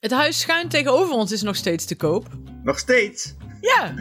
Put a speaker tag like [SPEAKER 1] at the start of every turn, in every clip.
[SPEAKER 1] Het huis schuin tegenover ons is nog steeds te koop.
[SPEAKER 2] Nog steeds?
[SPEAKER 1] Ja.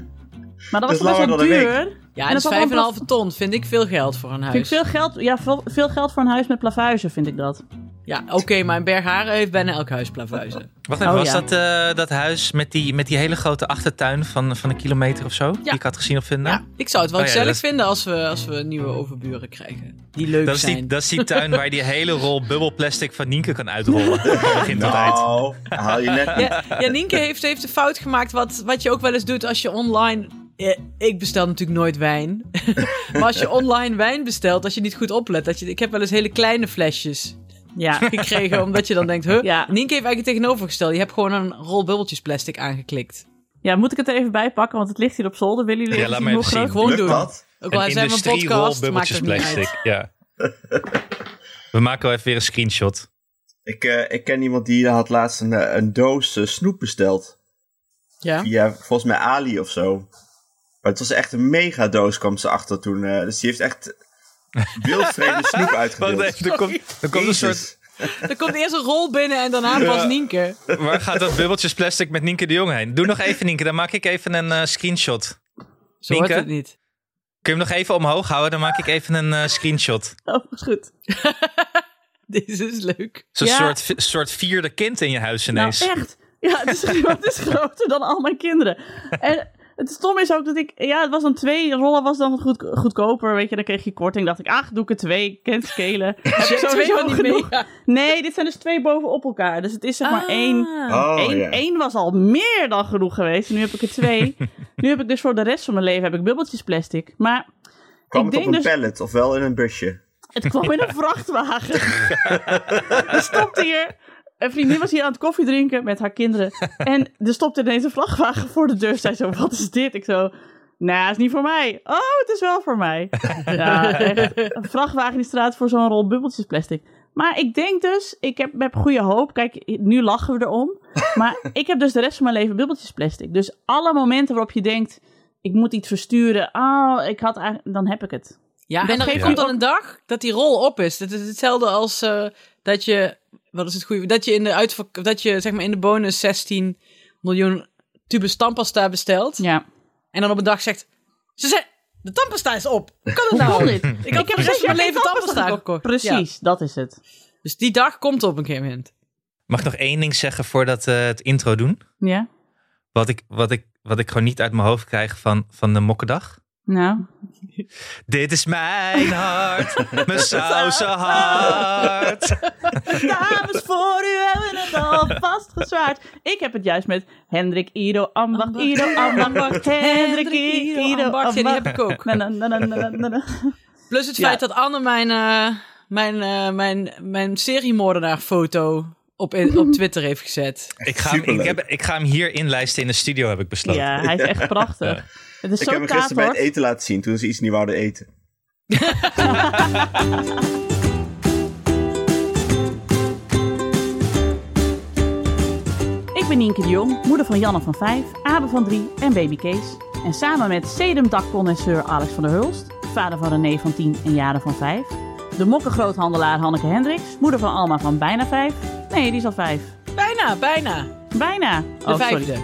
[SPEAKER 2] Dat
[SPEAKER 3] Maar dat was
[SPEAKER 2] is
[SPEAKER 3] toch best wel
[SPEAKER 2] langer dan een
[SPEAKER 3] duur.
[SPEAKER 1] Ja,
[SPEAKER 3] En
[SPEAKER 1] dat
[SPEAKER 3] dat was allemaal
[SPEAKER 1] is 5,5 ton. Vind ik veel geld voor een huis.
[SPEAKER 3] Vind ik veel geld, ja, veel, veel geld voor een huis met plavuizen, vind ik dat.
[SPEAKER 1] Ja, oké, maar in Bergharen heeft bijna elk huis plavuizen.
[SPEAKER 4] Wacht even,
[SPEAKER 3] Oh,
[SPEAKER 4] was
[SPEAKER 3] ja.
[SPEAKER 4] dat eh, dat huis met die, met die hele grote achtertuin van, van een kilometer of zo? Die ik had gezien op Vinda?
[SPEAKER 1] Ja, ik zou het wel
[SPEAKER 4] Oh ja,
[SPEAKER 1] gezellig
[SPEAKER 4] dat-
[SPEAKER 1] vinden als we, als we nieuwe overburen krijgen. Die leuk
[SPEAKER 4] Dat is,
[SPEAKER 1] zijn.
[SPEAKER 4] die, dat is die tuin waar je die hele rol bubbelplastic van Nienke kan uitrollen. Van begin tot eind.
[SPEAKER 2] Nou, haal je net
[SPEAKER 1] Ja, ja, Nienke heeft, heeft de fout gemaakt wat, wat je ook wel eens doet als je online... eh, Ik bestel natuurlijk nooit wijn. maar als je online wijn bestelt, als je niet goed oplet... Dat je, ik heb wel eens hele kleine flesjes
[SPEAKER 3] Ja,
[SPEAKER 1] gekregen, omdat je dan denkt... Huh?
[SPEAKER 3] Ja.
[SPEAKER 1] Nienke heeft eigenlijk het tegenovergestelde. Je hebt gewoon een rol bubbeltjes plastic aangeklikt.
[SPEAKER 3] ja, moet ik het er even bij pakken, want het ligt hier op zolder. Willen jullie
[SPEAKER 4] Ja,
[SPEAKER 3] even
[SPEAKER 4] laat
[SPEAKER 3] zien hoe
[SPEAKER 4] maar even
[SPEAKER 3] groot?
[SPEAKER 1] Gewoon
[SPEAKER 4] zien.
[SPEAKER 2] lukt
[SPEAKER 1] doen.
[SPEAKER 2] dat?
[SPEAKER 1] Ook al
[SPEAKER 4] Een
[SPEAKER 1] zijn we een
[SPEAKER 4] industrierol
[SPEAKER 1] podcast, maakt
[SPEAKER 4] bubbeltjes
[SPEAKER 1] het niet uit.
[SPEAKER 4] plastic. Ja. We maken wel even weer een screenshot.
[SPEAKER 2] Ik, eh, ik ken iemand die had laatst een, eh, een doos eh, snoep besteld.
[SPEAKER 1] Ja.
[SPEAKER 2] Via volgens mij Ali of zo. Maar het was echt een mega doos, kwam ze achter toen. eh, dus die heeft echt wildvreemde snoep uitgedeeld.
[SPEAKER 4] er komt, er komt een soort...
[SPEAKER 2] Jezus.
[SPEAKER 1] Er komt eerst een rol binnen en daarna pas Nienke.
[SPEAKER 4] Waar gaat dat bubbeltjes plastic met Nienke de Jong heen? Doe nog even, Nienke. Dan maak ik even een eh, screenshot.
[SPEAKER 1] Zo wordt
[SPEAKER 4] Nienke?
[SPEAKER 1] het niet.
[SPEAKER 4] Kun je hem nog even omhoog houden? Dan maak ik even een eh, screenshot.
[SPEAKER 3] Oh, is goed.
[SPEAKER 1] Dit is leuk.
[SPEAKER 4] Zo'n
[SPEAKER 3] Ja.
[SPEAKER 4] soort, vi- soort vierde kind in je huis ineens.
[SPEAKER 3] Nou, echt. Ja, het is, het is groter dan al mijn kinderen. En het stom is ook dat ik... Ja, het was dan twee rollen, was dan goed, goedkoper. Weet je, dan kreeg je korting. dacht ik, ach, doe ik er twee. Ik ken het schelen. Heb ik sowieso genoeg. Nee, dit zijn dus twee bovenop elkaar. Dus het is zeg maar één...
[SPEAKER 2] Oh,
[SPEAKER 3] Eén,
[SPEAKER 2] ja.
[SPEAKER 3] één was al meer dan genoeg geweest. Nu heb ik er twee. nu heb ik dus voor de rest van mijn leven heb ik bubbeltjes plastic. Maar
[SPEAKER 2] Kwam
[SPEAKER 3] ik
[SPEAKER 2] het op
[SPEAKER 3] denk
[SPEAKER 2] een
[SPEAKER 3] dus-
[SPEAKER 2] pallet of wel in een busje?
[SPEAKER 3] het kwam in een vrachtwagen. er stopte hier. Een vriendin was hier aan het koffie drinken met haar kinderen. En er stopte ineens een vrachtwagen voor de deur. Zij zo: Wat is dit? Ik zo. Nou, is niet voor mij. Oh, het is wel voor mij. Ja, echt. Een vrachtwagen in de straat voor zo'n rol bubbeltjes plastic. Maar ik denk dus, ik heb, heb goede hoop. Kijk, nu lachen we erom. Maar ik heb dus de rest van mijn leven bubbeltjes plastic. Dus alle momenten waarop je denkt: ik moet iets versturen. Oh, ik had eigenlijk, dan heb ik het.
[SPEAKER 1] Ja,
[SPEAKER 3] Dat
[SPEAKER 1] en dan
[SPEAKER 3] geeft
[SPEAKER 1] komt
[SPEAKER 3] ook-
[SPEAKER 1] dan een dag dat die rol op is. Dat is hetzelfde als eh, dat je, wat is het goede, dat je in de uitverk- dat je zeg maar in de bonus 16 miljoen tubes tandpasta bestelt.
[SPEAKER 3] Ja.
[SPEAKER 1] En dan op een dag zegt, ze zei, de tandpasta is op. Hoe kan het
[SPEAKER 3] Kon
[SPEAKER 1] nou?
[SPEAKER 3] dit?
[SPEAKER 1] Ik had voor de rest van mijn leven tandpasta gekocht. Ja.
[SPEAKER 3] Precies, dat is het.
[SPEAKER 1] Dus die dag komt op een gegeven moment.
[SPEAKER 4] Mag ik nog één ding zeggen voordat we het intro doen?
[SPEAKER 3] Ja?
[SPEAKER 4] Wat ik, wat ik, wat ik gewoon niet uit mijn hoofd krijg van, van de mokkendag.
[SPEAKER 3] Nou.
[SPEAKER 4] Dit is mijn hart, mijn sausenhart.
[SPEAKER 3] Dames, voor u hebben het al vastgezwaard. Ik heb het juist met Hendrik Ido Ambacht,
[SPEAKER 1] Ambacht.
[SPEAKER 3] Ido Ambacht, Hendrik
[SPEAKER 1] Ido
[SPEAKER 3] Ido
[SPEAKER 1] Ambacht.
[SPEAKER 3] Ambacht.
[SPEAKER 1] Ja, die heb ik ook.
[SPEAKER 3] Na, na, na, na, na, na, na.
[SPEAKER 1] Plus het
[SPEAKER 3] Ja.
[SPEAKER 1] feit dat Anne mijn, eh, mijn, eh, mijn, mijn seriemoordenaar foto op, op Twitter heeft gezet.
[SPEAKER 4] Ik ga, hem, ik,
[SPEAKER 2] Superleuk.
[SPEAKER 4] heb, ik ga hem hier inlijsten in de studio, heb ik besloten.
[SPEAKER 3] Ja, hij is echt prachtig. Het is
[SPEAKER 2] Ik heb
[SPEAKER 3] zo
[SPEAKER 2] hem gisteren bij het
[SPEAKER 3] kaart,
[SPEAKER 2] eten laten zien toen ze iets niet wouden eten.
[SPEAKER 3] Ik ben Nienke de Jong, moeder van Janne van 5, Abe van 3 en baby Kees. En samen met sedumdakconnoisseur Alex van der Hulst, vader van René van 10 en Jaren van 5. De mokkengroothandelaar Hanneke Hendricks, moeder van Alma van bijna 5. Nee, die is al 5.
[SPEAKER 1] Bijna, bijna.
[SPEAKER 3] Bijna.
[SPEAKER 1] De vijfde.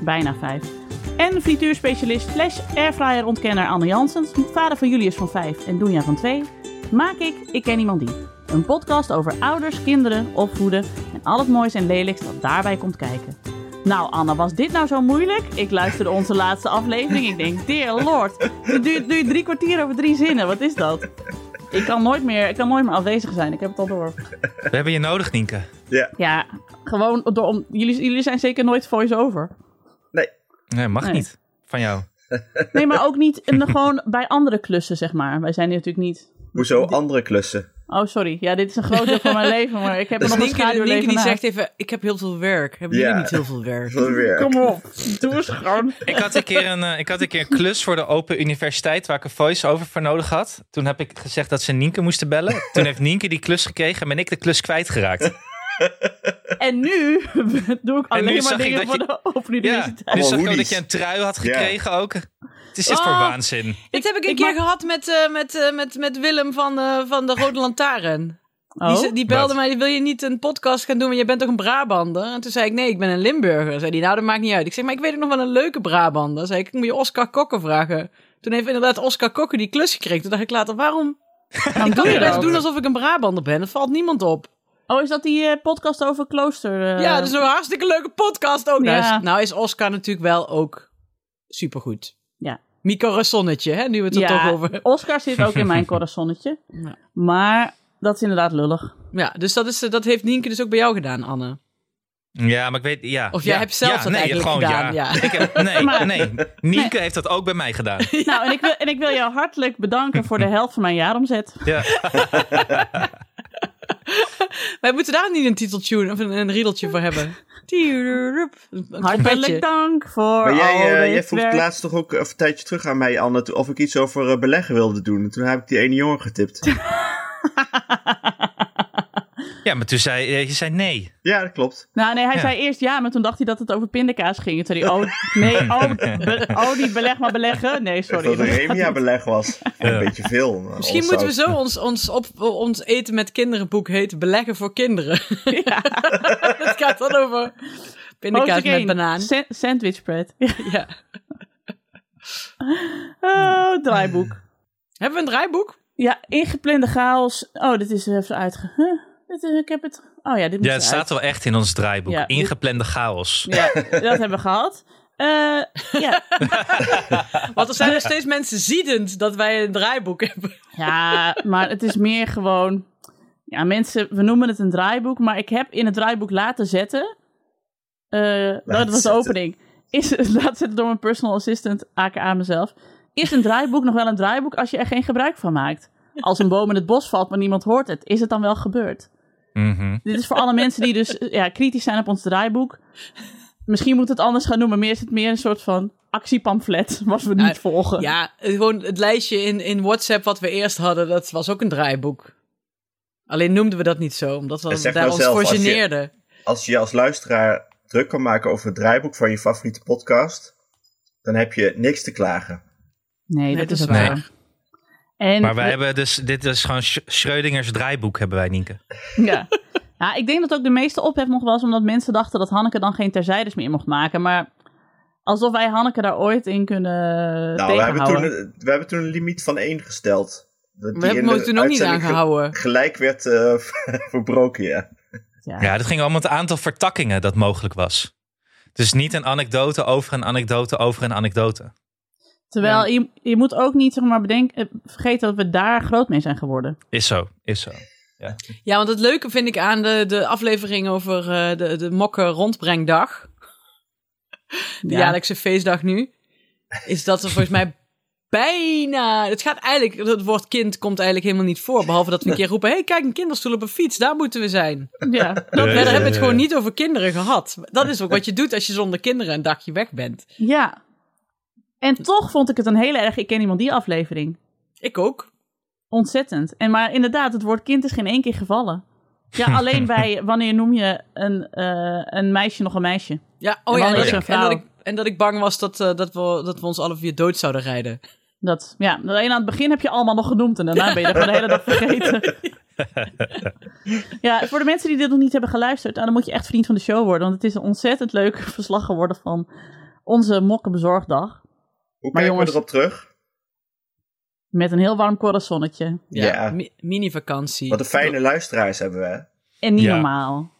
[SPEAKER 3] Bijna 5. En frituurspecialist slash airfryer-ontkenner Anne Janssens, vader van Julius van 5 en Doenja van 2, maak ik Ik Ken Iemand Die. Een podcast over ouders, kinderen, opvoeden en al het moois en lelijks dat daarbij komt kijken. Nou Anne, was dit nou zo moeilijk? Ik luisterde onze laatste aflevering. Ik denk, dear lord, het duurt nu drie kwartier over drie zinnen. Wat is dat? Ik kan nooit meer, ik kan nooit meer afwezig zijn. Ik heb het al door.
[SPEAKER 4] We hebben je nodig, Nienke.
[SPEAKER 2] Ja,
[SPEAKER 3] Ja, gewoon door om... Jullie, jullie zijn zeker nooit voice-over.
[SPEAKER 2] nee.
[SPEAKER 4] Nee, mag
[SPEAKER 3] Nee.
[SPEAKER 4] niet. Van jou.
[SPEAKER 3] Nee, maar ook niet in de- gewoon bij andere klussen, zeg maar. Wij zijn hier natuurlijk niet...
[SPEAKER 2] Hoezo andere klussen?
[SPEAKER 3] Oh, sorry. Ja, dit is een groot deel van mijn leven, maar ik heb er
[SPEAKER 1] Dus
[SPEAKER 3] nog een
[SPEAKER 1] Nienke, Nienke
[SPEAKER 3] schaduwleven
[SPEAKER 1] die
[SPEAKER 3] na.
[SPEAKER 1] zegt even, ik heb heel veel werk. Hebben jullie
[SPEAKER 2] Ja.
[SPEAKER 1] niet heel veel werk?
[SPEAKER 2] Wat een werk.
[SPEAKER 3] Kom op, doe eens gewoon.
[SPEAKER 4] Ik had, een keer een, eh, ik had een keer een klus voor de Open Universiteit waar ik een voice-over voor nodig had. Toen heb ik gezegd dat ze Nienke moesten bellen. Toen heeft Nienke die klus gekregen en ben ik de klus kwijtgeraakt.
[SPEAKER 3] En nu doe ik alleen
[SPEAKER 4] zag
[SPEAKER 3] maar
[SPEAKER 4] ik
[SPEAKER 3] dingen
[SPEAKER 4] dat
[SPEAKER 3] voor
[SPEAKER 4] je-
[SPEAKER 3] de Open
[SPEAKER 4] Ja,
[SPEAKER 3] Universiteit.
[SPEAKER 4] dus zag ik ook
[SPEAKER 2] hoodies.
[SPEAKER 4] dat je een trui had
[SPEAKER 2] Ja.
[SPEAKER 4] gekregen ook. Het is dit voor
[SPEAKER 1] Oh.
[SPEAKER 4] waanzin.
[SPEAKER 1] Dit heb ik een
[SPEAKER 3] ik
[SPEAKER 1] keer
[SPEAKER 3] mag-
[SPEAKER 1] gehad met, eh, met, eh, met, met Willem van, eh, van de Rode Lantaarn. Die,
[SPEAKER 3] Oh,
[SPEAKER 1] ze- die belde
[SPEAKER 4] Wat?
[SPEAKER 1] mij, wil je niet een podcast gaan doen, want je bent toch een Brabander? En toen zei ik, nee, ik ben een Limburger. Zei die, nou, dat maakt niet uit. Ik zeg, maar ik weet ook nog wel een leuke Brabander. Zei ik, ik moet je Oscar Kokken vragen. Toen heeft inderdaad Oscar Kokken die klus gekregen. Toen dacht ik later, waarom? Ik kan
[SPEAKER 3] doe je
[SPEAKER 1] niet best
[SPEAKER 3] dat?
[SPEAKER 1] doen alsof ik een Brabander ben. Dat valt niemand op.
[SPEAKER 3] oh, is dat die eh, podcast over klooster? eh?
[SPEAKER 1] ja, dat is een hartstikke leuke podcast ook. Nou,
[SPEAKER 3] Ja.
[SPEAKER 1] is, nou is Oscar natuurlijk wel ook supergoed.
[SPEAKER 3] Ja.
[SPEAKER 1] Mico Rassonnetje, hè, nu we het er
[SPEAKER 3] Ja,
[SPEAKER 1] toch over...
[SPEAKER 3] Oscar zit ook in mijn corazonnetje.
[SPEAKER 1] Ja.
[SPEAKER 3] Maar dat is inderdaad lullig.
[SPEAKER 1] Ja, dus dat, is, eh, dat heeft Nienke dus ook bij jou gedaan, Anne.
[SPEAKER 4] Ja, maar ik weet... Ja.
[SPEAKER 1] Of jij
[SPEAKER 4] Ja,
[SPEAKER 1] hebt zelf
[SPEAKER 4] ja,
[SPEAKER 1] dat
[SPEAKER 4] nee,
[SPEAKER 1] eigenlijk
[SPEAKER 4] gewoon,
[SPEAKER 1] gedaan,
[SPEAKER 4] Ja.
[SPEAKER 1] ja.
[SPEAKER 4] Ik heb, nee,
[SPEAKER 3] Maar-
[SPEAKER 4] nee. Nienke heeft dat ook bij mij gedaan.
[SPEAKER 3] Nou, en ik, wil, en ik wil jou hartelijk bedanken voor de helft van mijn jaaromzet.
[SPEAKER 4] Ja.
[SPEAKER 1] Wij moeten daar niet een titeltune of een, een riedeltje voor hebben. Tierurup. Een
[SPEAKER 3] Hartelijk
[SPEAKER 1] trompetje.
[SPEAKER 3] dank voor
[SPEAKER 2] Maar jij,
[SPEAKER 3] al
[SPEAKER 2] eh,
[SPEAKER 3] dit
[SPEAKER 2] jij vroeg
[SPEAKER 3] werk.
[SPEAKER 2] laatst toch ook even een tijdje terug aan mij, Anne, to- of ik iets over eh, beleggen wilde doen. En toen heb ik die ene jongen getipt.
[SPEAKER 4] ja, maar toen zei eh, je zei nee.
[SPEAKER 2] ja, dat klopt.
[SPEAKER 3] Nou nee, hij
[SPEAKER 4] Ja.
[SPEAKER 3] zei eerst ja, maar toen dacht hij dat het over pindakaas ging. En Toen zei hij, oh nee, oh, be- oh die beleg maar beleggen. Nee,
[SPEAKER 2] Ik dacht
[SPEAKER 3] sorry.
[SPEAKER 2] dat het een Remia-beleg was. Een beetje veel. maar
[SPEAKER 1] Misschien
[SPEAKER 2] anders
[SPEAKER 1] moeten we
[SPEAKER 2] zou
[SPEAKER 1] zo ons, ons, op, ons eten met kinderen boek heten Beleggen voor kinderen. dat gaat dan over pindakaas
[SPEAKER 3] Hoofdstuk
[SPEAKER 1] met
[SPEAKER 3] één,
[SPEAKER 1] banaan.
[SPEAKER 3] sa- sandwich spread.
[SPEAKER 1] Ja.
[SPEAKER 3] Oh, draaiboek.
[SPEAKER 1] Hebben we een draaiboek?
[SPEAKER 3] Ja, ingeplande chaos. Oh, dit is er even uitge... Huh? Dit is, ik heb het... Oh ja, dit moet
[SPEAKER 4] Ja,
[SPEAKER 3] eruit.
[SPEAKER 4] het staat wel echt in ons draaiboek.
[SPEAKER 3] Ja.
[SPEAKER 4] Ingeplande chaos.
[SPEAKER 3] Ja, dat hebben we gehad. Eh, ja.
[SPEAKER 1] Want er zijn nog steeds mensen ziedend dat wij een draaiboek hebben.
[SPEAKER 3] ja, maar het is meer gewoon... Ja, mensen, we noemen het een draaiboek, maar ik heb in het draaiboek laten zetten... eh, dat was de
[SPEAKER 2] zetten.
[SPEAKER 3] opening. Is het laten zetten door mijn personal assistant, aka mezelf. Is een draaiboek nog wel een draaiboek als je er geen gebruik van maakt? Als een boom in het bos valt, maar niemand hoort het, is het dan wel gebeurd?
[SPEAKER 4] Mhm.
[SPEAKER 3] Dit is voor alle mensen die dus eh, ja, kritisch zijn op ons draaiboek. Misschien moet het anders gaan noemen. Meer is het meer een soort van actiepamflet, wat we niet
[SPEAKER 1] Nou,
[SPEAKER 3] volgen.
[SPEAKER 1] Ja, het- gewoon het lijstje in, in WhatsApp wat we eerst hadden, dat was ook een draaiboek. Alleen noemden we dat niet zo, omdat we
[SPEAKER 2] Dat
[SPEAKER 1] daar
[SPEAKER 2] zegt wel
[SPEAKER 1] ons
[SPEAKER 2] zelf,
[SPEAKER 1] voor
[SPEAKER 2] als je-
[SPEAKER 1] geneerden.
[SPEAKER 2] als je je als luisteraar druk kan maken over het draaiboek van je favoriete podcast, dan heb je niks te klagen.
[SPEAKER 3] Nee, dat,
[SPEAKER 1] dat
[SPEAKER 3] is
[SPEAKER 1] is
[SPEAKER 3] ook
[SPEAKER 4] waar.
[SPEAKER 3] waar. En
[SPEAKER 4] Maar wij
[SPEAKER 3] we-
[SPEAKER 4] hebben dus, dit is gewoon Sch- Schrödinger's draaiboek hebben wij, Nienke.
[SPEAKER 3] Ja. ja, ik denk dat ook de meeste ophef nog was omdat mensen dachten dat Hanneke dan geen terzijdes meer mocht maken. Maar alsof wij Hanneke daar ooit in kunnen
[SPEAKER 2] nou, we hebben,
[SPEAKER 3] tegenhouden.
[SPEAKER 2] toen, een- we hebben toen een limiet van één gesteld. Dat
[SPEAKER 1] We
[SPEAKER 2] die
[SPEAKER 1] hebben
[SPEAKER 2] in
[SPEAKER 1] hem
[SPEAKER 2] de
[SPEAKER 1] toen ook niet
[SPEAKER 2] uitzending ge-
[SPEAKER 1] aangehouden.
[SPEAKER 2] Gelijk werd eh, verbroken, ja.
[SPEAKER 3] Ja.
[SPEAKER 4] Ja, dat ging om het aantal vertakkingen dat mogelijk was. Dus niet een anekdote over een anekdote over een anekdote.
[SPEAKER 3] Terwijl je, je moet ook niet zeg maar, bedenken, eh, vergeten dat we daar groot mee zijn geworden.
[SPEAKER 4] Is zo, is zo.
[SPEAKER 1] Ja, want het leuke vind ik aan de, de aflevering over eh, de, de mokken rondbrengdag, de jaarlijkse feestdag nu, is dat er volgens mij bijna... Het gaat eigenlijk, het woord kind komt eigenlijk helemaal niet voor, behalve dat we een keer roepen, hey, kijk, een kinderstoel op een fiets, daar moeten we zijn.
[SPEAKER 3] ja.
[SPEAKER 1] Dat,
[SPEAKER 4] Ja,
[SPEAKER 1] verder
[SPEAKER 4] ja,
[SPEAKER 1] hebben we het
[SPEAKER 4] ja,
[SPEAKER 1] gewoon
[SPEAKER 4] ja.
[SPEAKER 1] niet over kinderen gehad. Dat is ook wat je doet als je zonder kinderen een dagje weg bent.
[SPEAKER 3] Ja. En toch vond ik het een hele erg. Ik ken iemand die aflevering.
[SPEAKER 1] Ik ook.
[SPEAKER 3] Ontzettend. En maar inderdaad, het woord kind is geen één keer gevallen. Ja, alleen bij wanneer noem je een, eh, een meisje nog een meisje?
[SPEAKER 1] Ja, oh
[SPEAKER 3] En
[SPEAKER 1] ja, en
[SPEAKER 3] wanneer
[SPEAKER 1] dat, ik,
[SPEAKER 3] is een
[SPEAKER 1] en dat
[SPEAKER 3] vrouw?
[SPEAKER 1] ik, en dat ik bang was dat, eh, dat, we, dat we ons alle vier dood zouden rijden.
[SPEAKER 3] Dat, ja, alleen aan het begin heb je allemaal nog genoemd en daarna ben je dat de hele dag vergeten. ja, voor de mensen die dit nog niet hebben geluisterd, nou, dan moet je echt vriend van de show worden. Want het is een ontzettend leuk verslag geworden van onze mokkenbezorgdag.
[SPEAKER 2] Hoe
[SPEAKER 3] Maar
[SPEAKER 2] kijken
[SPEAKER 3] jongens-
[SPEAKER 2] we erop terug?
[SPEAKER 3] Met een heel warm corazonnetje.
[SPEAKER 1] Ja.
[SPEAKER 2] Ja.
[SPEAKER 1] mi- mini-vakantie.
[SPEAKER 2] Wat een fijne luisteraars hebben we. hè?
[SPEAKER 3] En niet
[SPEAKER 4] Ja.
[SPEAKER 3] normaal.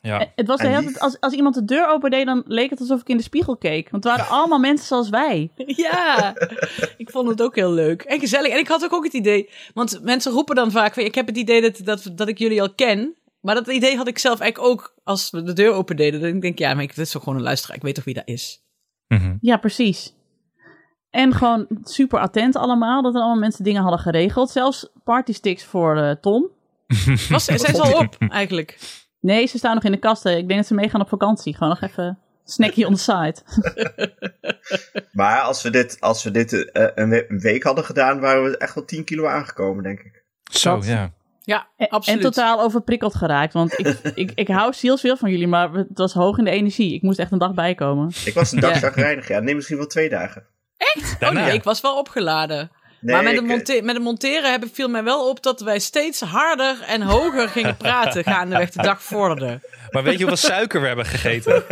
[SPEAKER 4] Ja.
[SPEAKER 3] Eh, Het was de
[SPEAKER 2] En
[SPEAKER 3] hele
[SPEAKER 2] lief.
[SPEAKER 3] tijd, als, als iemand de deur opendeed, dan leek het alsof ik in de spiegel keek. Want het waren allemaal mensen zoals wij.
[SPEAKER 1] Ja, ik vond het ook heel leuk en gezellig. En ik had ook, ook het idee, want mensen roepen dan vaak: van, Ik heb het idee dat, dat, dat ik jullie al ken. Maar dat idee had ik zelf eigenlijk ook als we de deur opendeden. Dat ik denk: Ja, maar ik, dit is toch gewoon een luisteraar. Ik weet toch wie dat is?
[SPEAKER 4] Mhm.
[SPEAKER 3] Ja, precies. En gewoon super attent allemaal, dat er allemaal mensen dingen hadden geregeld. Zelfs partysticks voor eh, Tom.
[SPEAKER 1] Was, zijn ze al op eigenlijk?
[SPEAKER 3] Nee, ze staan nog in de kasten. Ik denk dat ze meegaan op vakantie. Gewoon nog even snackie on the side.
[SPEAKER 2] Maar als we dit, als we dit eh, een, we- een week hadden gedaan, waren we echt wel 10 kilo aangekomen, denk ik.
[SPEAKER 4] Zo,
[SPEAKER 3] Dat-
[SPEAKER 1] Oh,
[SPEAKER 4] ja.
[SPEAKER 1] Ja,
[SPEAKER 3] En,
[SPEAKER 1] absoluut.
[SPEAKER 3] en totaal overprikkeld geraakt. Want ik, ik, ik hou zielsveel van jullie, maar het was hoog in de energie. Ik moest echt een dag bijkomen.
[SPEAKER 2] Ik was een
[SPEAKER 1] Ja.
[SPEAKER 2] dag chagrijnig, ja. Nee, misschien wel twee dagen.
[SPEAKER 1] Oh
[SPEAKER 4] Daarna.
[SPEAKER 1] nee, ik was wel opgeladen.
[SPEAKER 2] Nee,
[SPEAKER 1] maar met het,
[SPEAKER 2] ik-
[SPEAKER 1] monte- met het monteren heb, viel mij wel op dat wij steeds harder en hoger gingen praten gaandeweg de dag vorderde.
[SPEAKER 4] Maar weet je hoeveel suiker we hebben gegeten?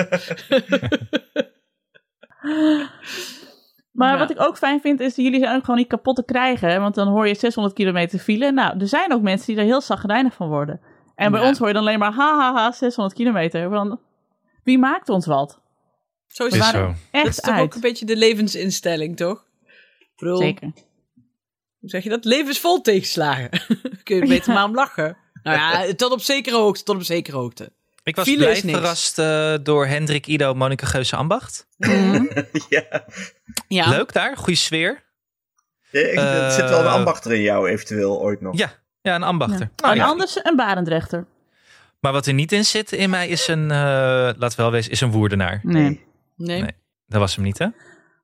[SPEAKER 3] Maar
[SPEAKER 1] Ja.
[SPEAKER 3] wat ik ook fijn vind, is dat jullie zijn ook gewoon niet kapot te krijgen. hè, Want dan hoor je 600 kilometer file. Nou, er zijn ook mensen die daar heel zagrijnig van worden. En bij
[SPEAKER 1] Ja.
[SPEAKER 3] ons hoor je dan alleen maar, ha, ha, ha, 600 kilometer. Want wie maakt ons wat?
[SPEAKER 1] Zo is
[SPEAKER 4] Is
[SPEAKER 1] het.
[SPEAKER 4] zo.
[SPEAKER 3] Echt
[SPEAKER 1] Dat is toch
[SPEAKER 3] uit.
[SPEAKER 1] ook een beetje de levensinstelling, toch? Ik bedoel,
[SPEAKER 3] Zeker.
[SPEAKER 1] Hoe zeg je dat? Leven is vol tegenslagen. Kun je beter
[SPEAKER 3] Ja.
[SPEAKER 1] maar om lachen. Nou ja, tot op zekere hoogte, tot op zekere hoogte.
[SPEAKER 4] Ik was
[SPEAKER 1] File
[SPEAKER 4] blij
[SPEAKER 1] is niks.
[SPEAKER 4] verrast eh, door Hendrik Ido, Monika Geuze Ambacht.
[SPEAKER 3] Mhm.
[SPEAKER 2] ja.
[SPEAKER 1] Ja,
[SPEAKER 4] Leuk daar, goede sfeer.
[SPEAKER 2] Nee, ik- er zit wel een
[SPEAKER 4] Eh,
[SPEAKER 2] ambachter in jou, eventueel ooit nog.
[SPEAKER 4] Ja, ja een
[SPEAKER 3] Ja.
[SPEAKER 4] ambachter.
[SPEAKER 3] en
[SPEAKER 4] Nou ja.
[SPEAKER 3] anders een barendrechter.
[SPEAKER 4] Maar wat er niet in zit in mij is een, eh laat wel wezen, is een woerdenaar.
[SPEAKER 3] Nee.
[SPEAKER 1] Nee.
[SPEAKER 4] Nee. Dat was hem niet, hè?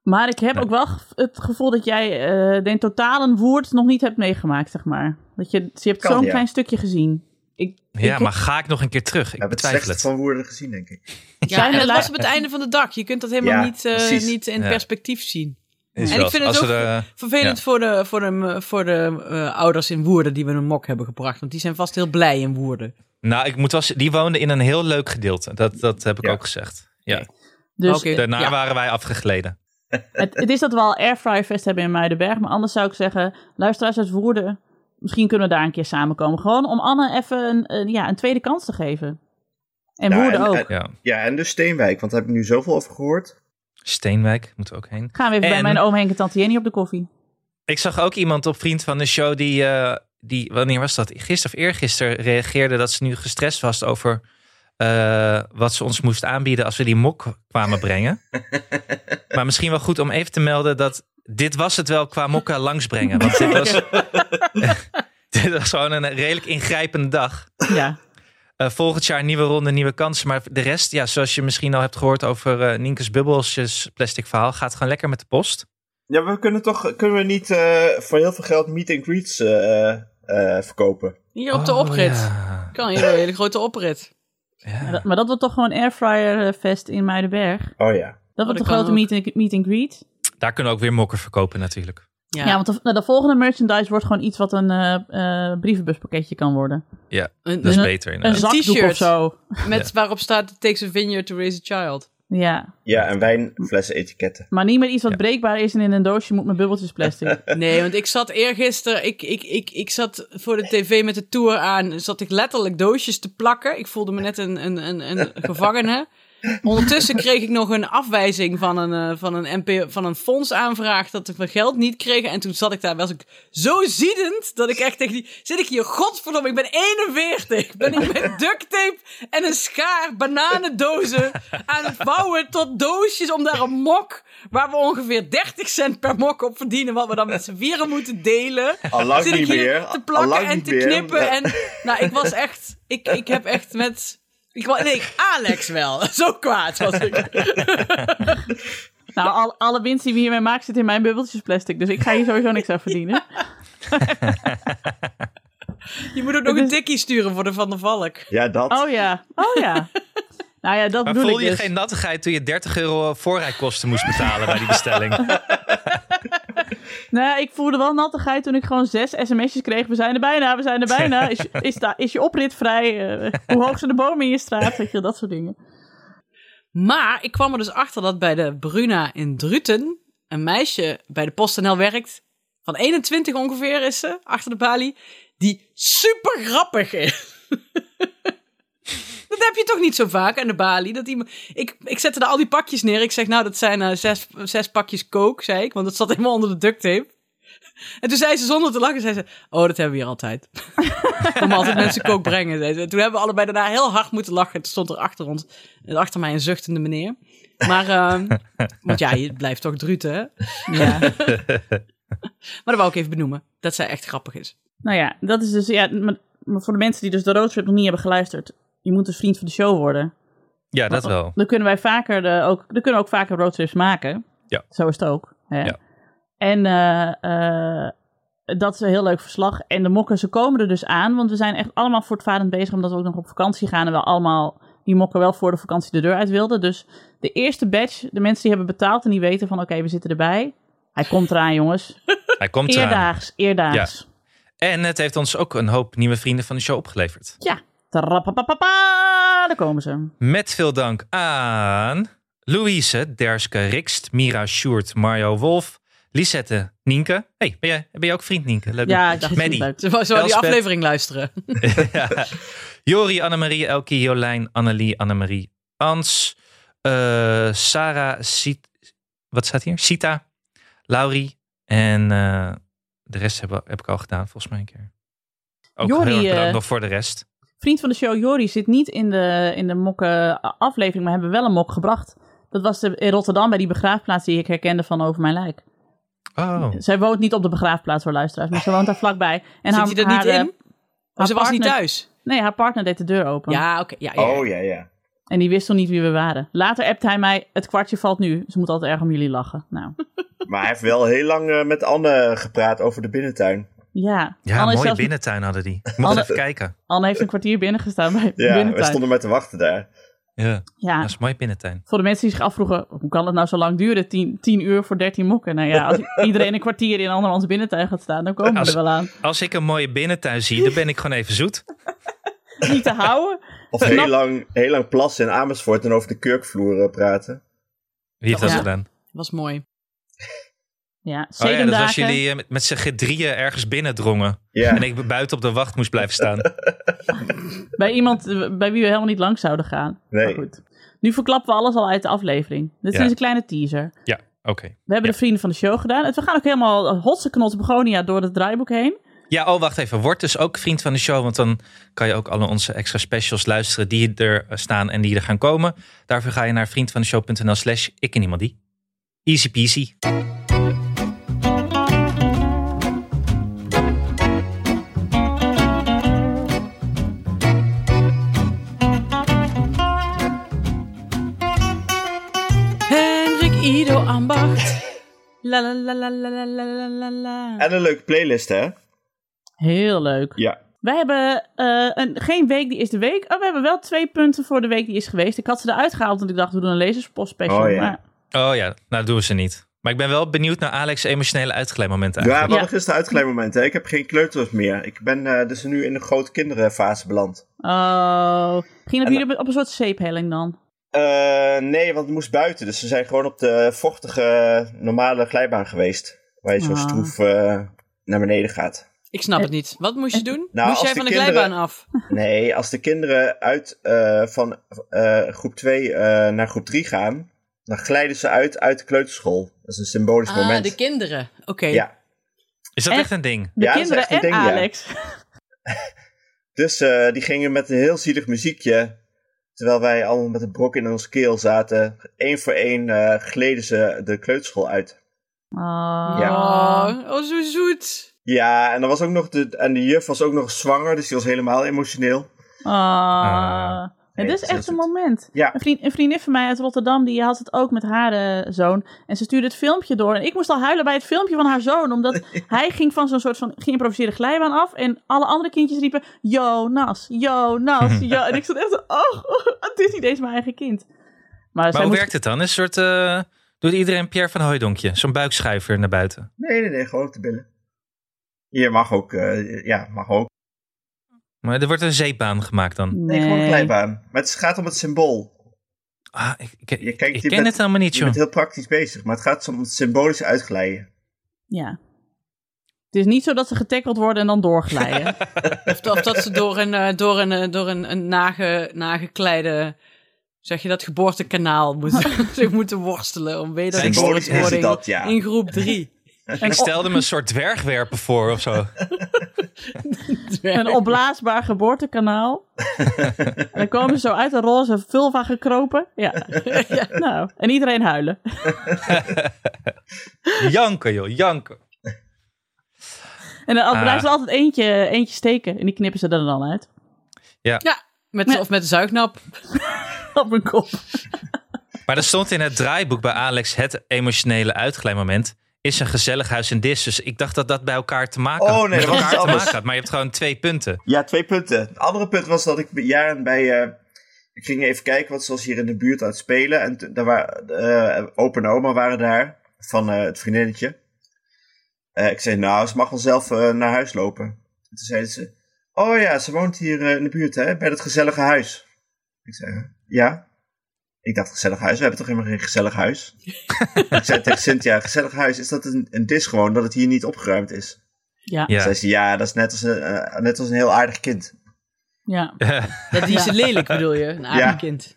[SPEAKER 3] Maar ik heb
[SPEAKER 4] Nee.
[SPEAKER 3] ook wel ge- het gevoel dat jij eh den totalen woord nog niet hebt meegemaakt, zeg maar. Dat je, dus je hebt
[SPEAKER 2] Kan,
[SPEAKER 3] zo'n
[SPEAKER 2] ja.
[SPEAKER 3] klein stukje gezien. Ik, ik
[SPEAKER 4] Ja,
[SPEAKER 3] heb-
[SPEAKER 4] maar ga ik nog een keer terug? Ik
[SPEAKER 2] We hebben het
[SPEAKER 4] betwijfel
[SPEAKER 2] slecht
[SPEAKER 4] het.
[SPEAKER 2] van woorden gezien, denk ik.
[SPEAKER 1] Ja, en
[SPEAKER 3] er
[SPEAKER 1] dat
[SPEAKER 3] lu-
[SPEAKER 1] was op het einde van de dag. Je kunt dat helemaal
[SPEAKER 2] Ja,
[SPEAKER 1] niet, eh,
[SPEAKER 2] precies.
[SPEAKER 1] niet in
[SPEAKER 4] Ja.
[SPEAKER 1] perspectief zien.
[SPEAKER 4] Is
[SPEAKER 1] En
[SPEAKER 4] wel
[SPEAKER 1] ik vind
[SPEAKER 4] als
[SPEAKER 1] het
[SPEAKER 4] we
[SPEAKER 1] ook-
[SPEAKER 4] de-
[SPEAKER 1] Vervelend
[SPEAKER 4] Ja.
[SPEAKER 1] voor de, voor de, voor de eh, ouders in Woerden die we een mok hebben gebracht. Want die zijn vast heel blij in Woerden.
[SPEAKER 4] nou, ik moet wel z- die woonde in een heel leuk gedeelte. Dat, dat heb ik
[SPEAKER 2] Ja.
[SPEAKER 4] ook gezegd. Ja.
[SPEAKER 3] Dus
[SPEAKER 1] Oké.
[SPEAKER 4] Daarna
[SPEAKER 1] Ja.
[SPEAKER 4] waren wij afgegleden.
[SPEAKER 3] Het, het is dat we al Airfryerfest hebben in Muidenberg. Maar anders zou ik zeggen, luisteraars uit Woerden. Misschien kunnen we daar een keer samenkomen. Gewoon om Anne even een, een- ja, een tweede kans te geven. En
[SPEAKER 2] Ja,
[SPEAKER 3] Woerden
[SPEAKER 2] en-
[SPEAKER 3] ook.
[SPEAKER 2] en-
[SPEAKER 4] Ja.
[SPEAKER 2] Ja, en dus Steenwijk, want daar heb ik nu zoveel over gehoord.
[SPEAKER 4] Steenwijk moeten we ook heen.
[SPEAKER 3] Gaan we even bij
[SPEAKER 4] en-
[SPEAKER 3] mijn oom Henk en tante Jenny op de koffie.
[SPEAKER 4] Ik zag ook iemand op Vriend van de Show die, eh, die wanneer was dat? Gisteren of eergisteren reageerde dat ze nu gestrest was over eh, wat ze ons moest aanbieden als we die mok kwamen brengen. maar misschien wel goed om even te melden dat dit was het wel qua mokken langsbrengen. Want dit was, dit was gewoon een redelijk ingrijpende dag.
[SPEAKER 3] Ja.
[SPEAKER 4] Eh, volgend jaar nieuwe ronde, nieuwe kansen. Maar de rest, ja, zoals je misschien al hebt gehoord over eh Nienke's bubbelsjes plastic verhaal, gaat gewoon lekker met de post.
[SPEAKER 2] Ja, we kunnen toch kunnen we niet eh, voor heel veel geld meet and greets eh, eh, verkopen?
[SPEAKER 1] Hier op de
[SPEAKER 4] Oh,
[SPEAKER 1] oprit.
[SPEAKER 4] ja.
[SPEAKER 1] Kan hier een hele grote oprit.
[SPEAKER 4] Ja.
[SPEAKER 3] Maar dat- Maar dat wordt toch gewoon Airfryerfest in Muidenberg.
[SPEAKER 2] Oh ja.
[SPEAKER 3] Dat
[SPEAKER 1] dat
[SPEAKER 3] wordt de
[SPEAKER 1] kan
[SPEAKER 3] grote
[SPEAKER 1] ook.
[SPEAKER 3] meet and, meet and greet.
[SPEAKER 4] Daar kunnen we ook weer mokken verkopen natuurlijk.
[SPEAKER 1] Ja,
[SPEAKER 3] Ja, want de, nou, de volgende merchandise wordt gewoon iets wat een eh, eh, brievenbuspakketje kan worden.
[SPEAKER 1] een,
[SPEAKER 4] Dat is
[SPEAKER 3] een-
[SPEAKER 4] beter
[SPEAKER 3] Een
[SPEAKER 4] inderdaad.
[SPEAKER 3] zakdoek
[SPEAKER 1] t-shirt.
[SPEAKER 3] of zo.
[SPEAKER 1] Eh, dus met waarop staat It takes a vineyard to raise a child.
[SPEAKER 3] Ja,
[SPEAKER 2] Ja, en wijnflessen etiketten.
[SPEAKER 3] maar niet met iets wat
[SPEAKER 4] Ja.
[SPEAKER 3] breekbaar is en in een doosje moet met bubbeltjes plastic.
[SPEAKER 1] Nee, want ik zat eergisteren, ik, ik, ik, ik zat voor de tv met de tour aan, zat ik letterlijk doosjes te plakken. Ik voelde me net een, een, een, een gevangene. Ondertussen kreeg ik nog een afwijzing van een, eh, van een, NPO van een fondsaanvraag dat ik mijn geld niet kreeg. En toen zat ik daar, was ik zo ziedend dat ik echt tegen die, zit ik hier, godverdomme, ik ben 41. Ben ik met duct tape en een schaar bananendozen aan het bouwen tot doosjes om daar een mok, waar we ongeveer 30 cent per mok op verdienen, wat we dan met z'n vieren moeten delen
[SPEAKER 2] Allang
[SPEAKER 1] zit ik
[SPEAKER 2] niet
[SPEAKER 1] hier
[SPEAKER 2] meer.
[SPEAKER 1] te
[SPEAKER 2] allang
[SPEAKER 1] plakken en
[SPEAKER 2] niet
[SPEAKER 1] te
[SPEAKER 2] meer.
[SPEAKER 1] knippen.
[SPEAKER 2] Ja.
[SPEAKER 1] En, nou, ik was echt... Ik, ik heb echt met... Ik, wa- nee, Alex wel. Zo kwaad was ik.
[SPEAKER 3] Nou, al- alle winst die we hiermee maken zit in mijn bubbeltjes plastic. Dus ik ga hier sowieso niks aan verdienen.
[SPEAKER 1] Je moet ook nog een tikkie sturen voor de Van der Valk.
[SPEAKER 2] Ja, dat.
[SPEAKER 3] Oh ja, oh ja. Nou ja, dat
[SPEAKER 4] Maar
[SPEAKER 3] bedoel
[SPEAKER 4] voelde
[SPEAKER 3] ik
[SPEAKER 4] je
[SPEAKER 3] dus.
[SPEAKER 4] geen nattigheid toen je 30 euro voorrijkosten moest betalen bij die bestelling?
[SPEAKER 3] Nou, ik voelde wel nattigheid toen ik gewoon zes sms'jes kreeg. We zijn er bijna, we zijn er bijna. Is, is, da- is je oprit vrij? Eh, hoe hoog zijn de bomen in je straat? Weet je, dat soort dingen.
[SPEAKER 1] Maar ik kwam er dus achter dat bij de Bruna in Druten... een meisje bij de PostNL werkt... van 21 ongeveer is ze, achter de balie... die super grappig is. Dat heb je toch niet zo vaak aan de balie? Dat iemand... ik, ik zette daar al die pakjes neer. Ik zeg, nou, dat zijn eh, zes, zes pakjes kook, zei ik. Want dat zat helemaal onder de duct tape. En toen zei ze zonder te lachen, zei ze... Oh, dat hebben we hier altijd. We komen altijd mensen kook brengen, zei ze. Toen hebben we allebei daarna heel hard moeten lachen. Het stond er achter ons, achter mij een zuchtende meneer. Maar, ehm, want ja, je blijft toch druten, hè?
[SPEAKER 3] Ja.
[SPEAKER 1] Maar dat wou ik even benoemen. Dat zij echt grappig is.
[SPEAKER 3] nou ja, dat is dus... Ja, maar, maar voor de mensen die dus de roadtrip nog niet hebben geluisterd... Je moet dus vriend van de show worden.
[SPEAKER 4] ja, dat wel.
[SPEAKER 3] Dan kunnen wij vaker de, ook, dan kunnen we ook vaker roadtrips maken.
[SPEAKER 4] Ja.
[SPEAKER 3] Zo is het ook. Hè?
[SPEAKER 4] Ja.
[SPEAKER 3] En eh, eh, dat is een heel leuk verslag. En de mokken, ze komen er dus aan. Want we zijn echt allemaal voortvarend bezig. Omdat we ook nog op vakantie gaan. En we allemaal die mokken wel voor de vakantie de deur uit wilden. Dus de eerste batch, de mensen die hebben betaald en die weten van... Oké, we zitten erbij. Hij komt eraan, jongens.
[SPEAKER 4] Hij komt eraan.
[SPEAKER 3] Eerdaags, eerdaags.
[SPEAKER 4] En het heeft ons ook een hoop nieuwe vrienden van de show opgeleverd.
[SPEAKER 3] Ja. Tarapapapa, daar komen ze.
[SPEAKER 4] Met veel dank aan Louise, Derske, Rikst, Mira, Sjoerd, Mario Wolf, Lisette, Nienke. hey, ben jij, ben jij ook vriend Nienke? Leuk.
[SPEAKER 3] Ja, ik dacht
[SPEAKER 4] Maddie.
[SPEAKER 3] niet leuk.
[SPEAKER 1] Ze wou- ze wou die
[SPEAKER 4] Elspeth.
[SPEAKER 1] aflevering luisteren.
[SPEAKER 4] Ja. Jori, Annemarie, Elkie, Jolijn, Annelie, Annemarie, Ans, eh, Sarah, Sit, wat staat hier? Sita, Laurie en eh, de rest heb, heb ik al gedaan volgens mij een keer. Ook
[SPEAKER 3] Jori,
[SPEAKER 4] heel erg bedankt
[SPEAKER 3] eh,
[SPEAKER 4] nog voor de rest.
[SPEAKER 3] Vriend van de show Jori zit niet in de, in de mokken eh, aflevering, maar hebben wel een mok gebracht. Dat was de, in Rotterdam bij die begraafplaats die ik herkende van Over Mijn Lijk.
[SPEAKER 4] Oh,
[SPEAKER 3] Zij woont niet op de begraafplaats voor luisteraars, maar ze woont daar vlakbij. En
[SPEAKER 1] Zit hij er niet
[SPEAKER 3] eh,
[SPEAKER 1] in? Maar ze was niet
[SPEAKER 3] partner-
[SPEAKER 1] thuis.
[SPEAKER 3] Nee, haar partner deed de deur open.
[SPEAKER 1] Ja, oké. Ja, ja, ja.
[SPEAKER 2] Oh ja, ja.
[SPEAKER 3] En die wist toen niet wie we waren. Later appte hij mij, het kwartje valt nu. Ze moet altijd erg om jullie lachen. Nou,
[SPEAKER 2] Maar hij heeft wel heel lang eh, met Anne gepraat over de binnentuin.
[SPEAKER 3] ja.
[SPEAKER 4] ja,
[SPEAKER 3] Anne,
[SPEAKER 4] mooie
[SPEAKER 3] is zelfs-
[SPEAKER 4] binnentuin hadden die. Ik mocht
[SPEAKER 3] Anne-
[SPEAKER 4] even kijken.
[SPEAKER 3] Anne heeft een kwartier binnengestaan bij
[SPEAKER 2] Ja,
[SPEAKER 3] binnentuin.
[SPEAKER 2] we stonden maar te wachten daar.
[SPEAKER 4] Ja,
[SPEAKER 3] Ja,
[SPEAKER 4] dat is een mooie binnentuin.
[SPEAKER 3] voor de mensen die zich afvroegen, hoe kan het nou zo lang duren? 10 10 uur voor 13 mokken. Nou ja, als iedereen een kwartier in andermans binnentuin gaat staan, dan komen we
[SPEAKER 4] Als-
[SPEAKER 3] er wel aan.
[SPEAKER 4] Als ik een mooie binnentuin zie, dan ben ik gewoon even zoet.
[SPEAKER 3] Niet te houden.
[SPEAKER 2] Of heel
[SPEAKER 3] Knap.
[SPEAKER 2] lang, heel lang plassen in Amersfoort en over de kurkvloer eh, praten.
[SPEAKER 4] Wie heeft dat
[SPEAKER 3] Ja.
[SPEAKER 4] gedaan?
[SPEAKER 1] was mooi.
[SPEAKER 3] Ja,
[SPEAKER 4] Oh ja,
[SPEAKER 3] zedendaken.
[SPEAKER 4] dat was jullie eh, met, met z'n gedrieën ergens binnendrongen.
[SPEAKER 2] Ja.
[SPEAKER 4] En ik buiten op de wacht moest blijven staan.
[SPEAKER 3] Bij iemand eh, bij wie we helemaal niet langs zouden gaan.
[SPEAKER 2] Nee.
[SPEAKER 3] Maar goed. Nu verklappen we alles al uit de aflevering. Dit
[SPEAKER 4] Ja.
[SPEAKER 3] is een kleine teaser.
[SPEAKER 4] Ja, oké.
[SPEAKER 3] We hebben de vrienden van de show gedaan. En we gaan ook helemaal eh, hotse knots begonia door het draaiboek heen.
[SPEAKER 4] Ja, oh, wacht even. Word dus ook vriend van de show. Want dan kan je ook alle onze extra specials luisteren die er eh, staan en die er gaan komen. Daarvoor ga je naar vriendvandeshow.nl slash ik en iemand die. Easy peasy.
[SPEAKER 1] Hendrik Ido Ambacht. La la la la la la la la la.
[SPEAKER 2] En een leuke playlist, hè?
[SPEAKER 3] Heel leuk.
[SPEAKER 2] Ja.
[SPEAKER 3] Wij hebben eh, een, geen week die is de week. Oh, we hebben wel twee punten voor de week die is geweest. Ik had ze eruit gehaald, want ik dacht, we doen een lezerspost special.
[SPEAKER 2] Oh, ja.
[SPEAKER 3] Maar
[SPEAKER 4] Oh ja, nou dat doen we ze niet. Maar ik ben wel benieuwd naar Alex' emotionele uitgeleidmomenten
[SPEAKER 2] Ja, we
[SPEAKER 4] eigenlijk.
[SPEAKER 2] hadden gisteren uitgeleidmoment. hè. Ik heb geen kleuters meer. Ik ben eh, dus nu in de grote kinderenfase beland.
[SPEAKER 3] Oh, ging dat jullie op een soort zeephelling dan?
[SPEAKER 2] Eh, nee, want het moest buiten. Dus ze zijn gewoon op de vochtige, normale glijbaan geweest. Waar je zo
[SPEAKER 3] Ah.
[SPEAKER 2] stroef eh, naar beneden gaat.
[SPEAKER 1] Ik snap het niet. Wat moest je doen?
[SPEAKER 2] Nou,
[SPEAKER 1] moest
[SPEAKER 2] als
[SPEAKER 1] jij
[SPEAKER 2] de
[SPEAKER 1] van de
[SPEAKER 2] kinderen-
[SPEAKER 1] glijbaan af?
[SPEAKER 2] Nee, als de kinderen uit eh, van eh, groep 2 naar groep 3 gaan, dan glijden ze uit uit de kleuterschool. Dat is een symbolisch
[SPEAKER 1] Ah,
[SPEAKER 2] moment.
[SPEAKER 1] de kinderen. Oké.
[SPEAKER 2] Ja.
[SPEAKER 4] Is dat echt,
[SPEAKER 3] Echt?
[SPEAKER 4] een ding?
[SPEAKER 3] De
[SPEAKER 2] Ja, dat is
[SPEAKER 3] kinderen
[SPEAKER 2] echt een
[SPEAKER 3] en
[SPEAKER 2] ding, ja.
[SPEAKER 3] Alex.
[SPEAKER 2] Dus eh, die gingen met een heel zielig muziekje. Terwijl wij allemaal met een brok in ons keel zaten. Eén voor één eh, gleden ze de kleuterschool uit.
[SPEAKER 3] Oh.
[SPEAKER 2] Ja.
[SPEAKER 1] Oh, oh, zo zoet.
[SPEAKER 2] Ja, en, er was ook nog de, en de juf was ook nog zwanger, dus die was helemaal emotioneel.
[SPEAKER 3] Ah.
[SPEAKER 2] Nee,
[SPEAKER 3] dit
[SPEAKER 2] dat
[SPEAKER 3] is
[SPEAKER 2] is
[SPEAKER 3] echt een
[SPEAKER 2] het.
[SPEAKER 3] moment.
[SPEAKER 2] Ja.
[SPEAKER 3] Een, vriend, een vriendin van mij uit Rotterdam, die had het ook met haar eh, zoon. En ze stuurde het filmpje door. En ik moest al huilen bij het filmpje van haar zoon. Omdat hij ging van zo'n soort van geïmproviseerde glijbaan af. En alle andere kindjes riepen, Jonas, Jonas. Jo en ik stond echt zo, oh, het is niet eens mijn eigen kind. Maar, zij
[SPEAKER 4] Maar hoe
[SPEAKER 3] moest-
[SPEAKER 4] werkt het dan? Een soort, eh, doet iedereen Pierre van Hooidonkje? Zo'n buikschuiver naar buiten.
[SPEAKER 2] Nee, nee, nee, gewoon op de billen. Je mag ook, eh, ja, mag ook.
[SPEAKER 4] Maar er wordt een zeepbaan gemaakt dan.
[SPEAKER 2] Nee, gewoon een glijbaan. Maar het gaat om het symbool.
[SPEAKER 4] Ah, ik, ik, ik-
[SPEAKER 2] Je kijkt,
[SPEAKER 4] ik
[SPEAKER 2] je
[SPEAKER 4] ken
[SPEAKER 2] bent-
[SPEAKER 4] het helemaal niet,
[SPEAKER 2] Je
[SPEAKER 4] joh.
[SPEAKER 2] bent heel praktisch bezig, maar het gaat om het symbolische uitglijden.
[SPEAKER 3] Ja. Het is niet zo dat ze getackled worden en dan doorglijden.
[SPEAKER 1] Of, of dat ze door een, eh, door een, eh, door een, een nage, nagekleide, zeg je dat, geboortekanaal moeten, zich moeten worstelen om
[SPEAKER 2] Symbolisch is het
[SPEAKER 1] wedergeboortwording
[SPEAKER 2] dat, ja.
[SPEAKER 1] in groep 3.
[SPEAKER 3] een,
[SPEAKER 4] Ik
[SPEAKER 3] op-
[SPEAKER 4] stelde me een soort dwergwerpen voor of zo.
[SPEAKER 3] een opblaasbaar geboortekanaal. en dan komen ze zo uit een roze vulva gekropen. Ja. ja, nou. En iedereen huilen.
[SPEAKER 4] Janken, joh, janken.
[SPEAKER 3] En dan
[SPEAKER 4] Ah.
[SPEAKER 3] blijft er altijd eentje, eentje steken. En die knippen ze er dan uit.
[SPEAKER 1] Met, of met een zuignap.
[SPEAKER 3] Op mijn kop.
[SPEAKER 4] Maar er stond in het draaiboek bij Alex het emotionele uitglijmoment is een gezellig huis in dis. Dus ik dacht dat dat bij elkaar te maken had.
[SPEAKER 2] Oh, nee,
[SPEAKER 4] met
[SPEAKER 2] dat was
[SPEAKER 4] elkaar te
[SPEAKER 2] iets anders.
[SPEAKER 4] maken had. Maar je hebt gewoon twee punten.
[SPEAKER 2] Ja, twee punten. Het andere punt was dat ik bij- jaren bij. eh, ik ging even kijken wat ze was hier in de buurt aan het spelen. En t- daar waren. eh opa en oma waren daar. Van eh, het vriendinnetje. Eh, Eh, ik zei, nou, ze mag wel zelf eh, naar huis lopen. En toen zeiden ze, oh ja, ze woont hier eh, in de buurt, hè, bij dat gezellige huis. Ik zei, ja. Ik dacht, gezellig huis, we hebben toch helemaal geen gezellig huis? ik zei tegen Cynthia, gezellig huis, is dat een, een dis gewoon, dat het hier niet opgeruimd is?
[SPEAKER 3] Ja, ja.
[SPEAKER 4] Ja.
[SPEAKER 2] Zei ze, ja, dat is net als een, eh, net als een heel aardig kind.
[SPEAKER 1] Dat die is lelijk, bedoel je? Een aardig
[SPEAKER 2] Ja.
[SPEAKER 1] kind.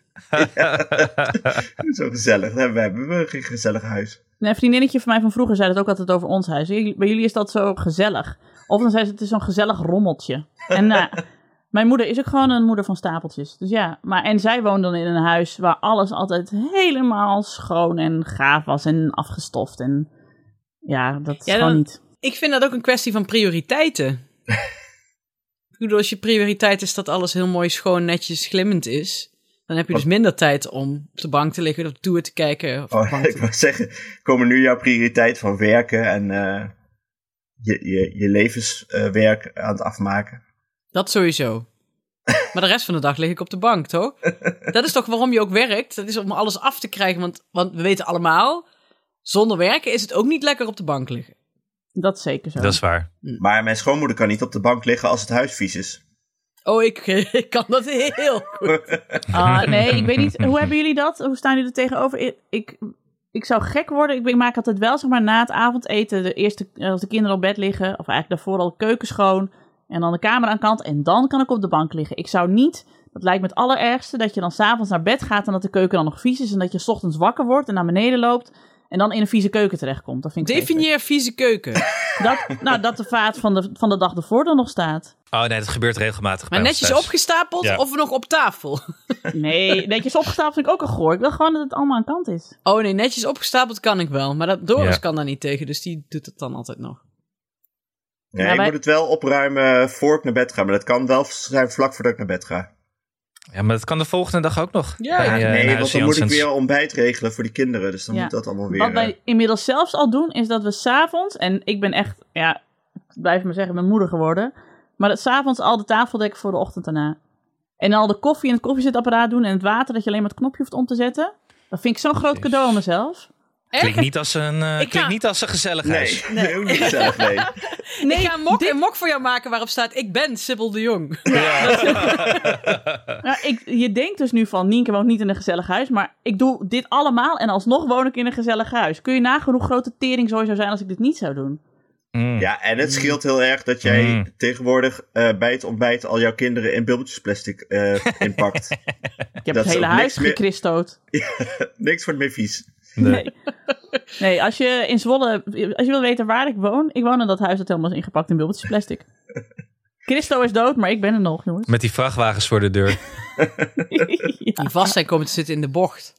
[SPEAKER 2] Zo gezellig, hè, we hebben we geen gezellig huis.
[SPEAKER 3] Een vriendinnetje van mij van vroeger zei dat ook altijd over ons huis. Jullie- Bij jullie is dat zo gezellig. Of dan zei ze, het is zo'n gezellig rommeltje. En nou, mijn moeder is ook gewoon een moeder van stapeltjes. Dus ja, maar en zij woonde dan in een huis waar alles altijd helemaal schoon en gaaf was en afgestoft. En ja, dat is
[SPEAKER 1] Ja,
[SPEAKER 3] gewoon
[SPEAKER 1] dan-
[SPEAKER 3] niet.
[SPEAKER 1] Ik vind dat ook een kwestie van prioriteiten. ik bedoel, als je prioriteit is dat alles heel mooi, schoon, netjes, glimmend is... dan heb je dus minder tijd om op de bank te liggen of op de tour te kijken. Of op de
[SPEAKER 2] Oh,
[SPEAKER 1] bank te-
[SPEAKER 2] ik wou zeggen, komen nu jouw prioriteit van werken en eh, je, je, je levenswerk eh, aan het afmaken?
[SPEAKER 1] Dat sowieso. Maar de rest van de dag lig ik op de bank, toch? Dat is toch waarom je ook werkt? Dat is om alles af te krijgen, want, want we weten allemaal... zonder werken is het ook niet lekker op de bank liggen.
[SPEAKER 3] Dat is zeker zo.
[SPEAKER 4] Dat is waar.
[SPEAKER 2] Maar mijn schoonmoeder kan niet op de bank liggen als het huis vies is.
[SPEAKER 1] Oh, ik, ik kan dat heel goed.
[SPEAKER 3] Ah, nee, ik weet niet. Hoe hebben jullie dat? Hoe staan jullie er tegenover? Ik, ik, ik zou gek worden. Ik, ben- ik maak altijd wel, zeg maar, na het avondeten, de eerste, eh, als de kinderen op bed liggen, of eigenlijk daarvoor al de keuken schoon, en dan de kamer aan kant, en dan kan ik op de bank liggen. Ik zou niet, dat lijkt me het allerergste, dat je dan s'avonds naar bed gaat en dat de keuken dan nog vies is, en dat je 's ochtends wakker wordt en naar beneden loopt, en dan in een vieze keuken terechtkomt. Dat vind ik vreselijk.
[SPEAKER 1] Definieer vieze keuken.
[SPEAKER 3] dat, Nou, dat de vaat van de, van de dag ervoor dan nog staat.
[SPEAKER 4] Oh nee, dat gebeurt
[SPEAKER 1] Maar
[SPEAKER 4] regelmatig. bij ons
[SPEAKER 1] netjes
[SPEAKER 4] thuis.
[SPEAKER 1] opgestapeld
[SPEAKER 4] Nou, Ja.
[SPEAKER 1] of nog op tafel?
[SPEAKER 3] Nee, netjes opgestapeld vind ik ook een goor. Ik wil gewoon dat het allemaal aan kant is.
[SPEAKER 1] Oh nee, netjes opgestapeld kan ik wel. Maar dat, Doris
[SPEAKER 4] Ja.
[SPEAKER 1] kan daar niet tegen, dus die doet het dan altijd nog.
[SPEAKER 2] Nee,
[SPEAKER 3] Maar
[SPEAKER 2] ik
[SPEAKER 3] wij-
[SPEAKER 2] moet het wel opruimen voor ik naar bed ga. Maar dat kan wel zijn vlak voordat ik naar bed ga.
[SPEAKER 4] Ja, maar dat kan de volgende dag ook nog.
[SPEAKER 1] Ja,
[SPEAKER 4] Bij,
[SPEAKER 1] ja.
[SPEAKER 4] eh,
[SPEAKER 2] nee,
[SPEAKER 4] Huis
[SPEAKER 2] want dan moet ik
[SPEAKER 4] Janssens.
[SPEAKER 2] weer ontbijt regelen voor die kinderen. Dus dan
[SPEAKER 3] Ja.
[SPEAKER 2] moet dat allemaal weer...
[SPEAKER 3] Wat
[SPEAKER 2] eh,
[SPEAKER 3] wij inmiddels zelfs al doen, is dat we s'avonds, en ik ben echt, ja, ik blijf maar zeggen, mijn moeder geworden. Maar dat s'avonds al de tafel dekken voor de ochtend daarna. En al de koffie in het koffiezetapparaat doen en het water dat je alleen maar het knopje hoeft om te zetten. Dat vind ik zo'n groot
[SPEAKER 4] Jezus.
[SPEAKER 3] cadeau aan mezelf.
[SPEAKER 4] Klinkt niet als een, eh,
[SPEAKER 1] Ik
[SPEAKER 4] klinkt
[SPEAKER 1] ga-
[SPEAKER 4] niet als een gezellig
[SPEAKER 2] Nee,
[SPEAKER 4] huis.
[SPEAKER 2] nee. ook niet gezellig, nee.
[SPEAKER 1] Nee, ik ga een mok, een mok voor jou maken waarop staat: Ik ben Sibyl de Jong.
[SPEAKER 3] Nou, ik, je denkt dus nu van, Nienke woont niet in een gezellig huis, maar ik doe dit allemaal en alsnog woon ik in een gezellig huis. Kun je nagaan hoe grote tering zo zou zijn als ik dit niet zou doen?
[SPEAKER 4] Mm.
[SPEAKER 2] Ja, en het scheelt heel erg dat jij
[SPEAKER 4] Mm.
[SPEAKER 2] tegenwoordig eh, bij het ontbijt al jouw kinderen in bubbeltjes plastic eh, inpakt.
[SPEAKER 3] Ik heb
[SPEAKER 2] Dat
[SPEAKER 3] het
[SPEAKER 2] is
[SPEAKER 3] hele
[SPEAKER 2] ook niks
[SPEAKER 3] huis
[SPEAKER 2] meer-
[SPEAKER 3] gekristoot.
[SPEAKER 2] Niks wordt meer vies.
[SPEAKER 4] Nee.
[SPEAKER 3] Nee. nee, als je in Zwolle, als je wil weten waar ik woon, ik woon in dat huis dat helemaal is ingepakt in bubbeltjes plastic. Christo is dood, maar ik ben er nog, jongens.
[SPEAKER 4] Met die vrachtwagens voor de deur.
[SPEAKER 3] Ja.
[SPEAKER 1] Die vast zijn komen te zitten in de bocht.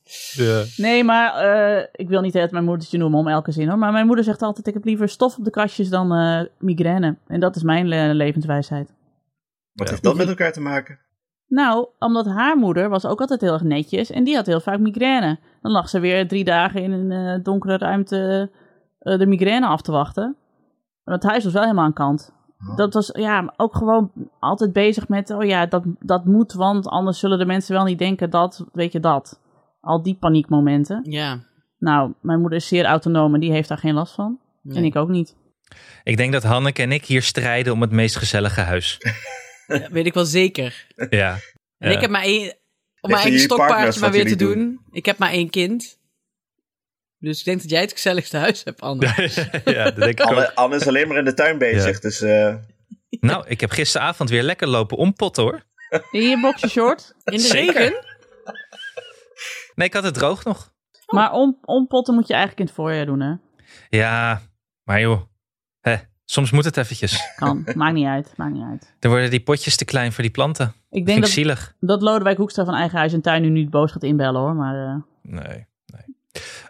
[SPEAKER 3] Nee, maar eh, ik wil niet het mijn moedertje noemen om elke zin hoor. Maar mijn moeder zegt altijd: ik heb liever stof op de kastjes dan eh, migraine. En dat is mijn le- levenswijsheid.
[SPEAKER 2] Wat
[SPEAKER 4] Ja.
[SPEAKER 2] heeft dat met elkaar te maken?
[SPEAKER 3] Nou, omdat haar moeder was ook altijd heel erg netjes en die had heel vaak migraine. Dan lag ze weer drie dagen in een eh, donkere ruimte eh, de migraine af te wachten. Maar het huis was wel helemaal aan kant. Dat was ja, maar ook gewoon altijd bezig met, oh ja, dat, dat moet, want anders zullen de mensen wel niet denken dat, weet je dat. Al die paniekmomenten.
[SPEAKER 1] Ja.
[SPEAKER 3] Nou, mijn moeder is zeer autonoom en die heeft daar geen last van.
[SPEAKER 1] Nee.
[SPEAKER 3] En ik ook niet.
[SPEAKER 4] Ik denk dat Hanneke en ik hier strijden om het meest gezellige huis.
[SPEAKER 1] Dat weet ik wel zeker.
[SPEAKER 4] Ja.
[SPEAKER 1] En
[SPEAKER 4] Ja.
[SPEAKER 1] ik heb maar één. Om
[SPEAKER 2] Ligt
[SPEAKER 1] mijn
[SPEAKER 2] aan
[SPEAKER 1] eigen
[SPEAKER 2] jullie
[SPEAKER 1] stokpaardje
[SPEAKER 2] partners
[SPEAKER 1] maar
[SPEAKER 2] wat
[SPEAKER 1] weer te doen.
[SPEAKER 2] jullie
[SPEAKER 1] Ik heb maar één kind. Dus ik denk dat jij het gezelligste huis hebt, Anne.
[SPEAKER 4] ja, dat denk ik ook.
[SPEAKER 2] Anne, Anne is alleen maar in de tuin bezig, dus... eh,
[SPEAKER 4] Nou, ik heb gisteravond weer lekker lopen ompotten hoor.
[SPEAKER 3] In je boxje short.
[SPEAKER 1] In de
[SPEAKER 4] Zeker.
[SPEAKER 1] regen?
[SPEAKER 4] Nee, ik had het droog nog.
[SPEAKER 3] Maar om, ompotten moet je eigenlijk in het voorjaar doen, hè?
[SPEAKER 4] Ja, maar joh. Hè, soms moet het eventjes.
[SPEAKER 3] Kan. Maakt niet uit. Maakt niet uit.
[SPEAKER 4] Dan worden die potjes te klein voor die planten.
[SPEAKER 3] Ik
[SPEAKER 4] Vind
[SPEAKER 3] denk
[SPEAKER 4] ik
[SPEAKER 3] dat,
[SPEAKER 4] zielig.
[SPEAKER 3] dat Lodewijk Hoekstra van Eigen Huis en Tuin nu niet boos gaat inbellen, hoor. Maar eh,
[SPEAKER 4] Nee, nee.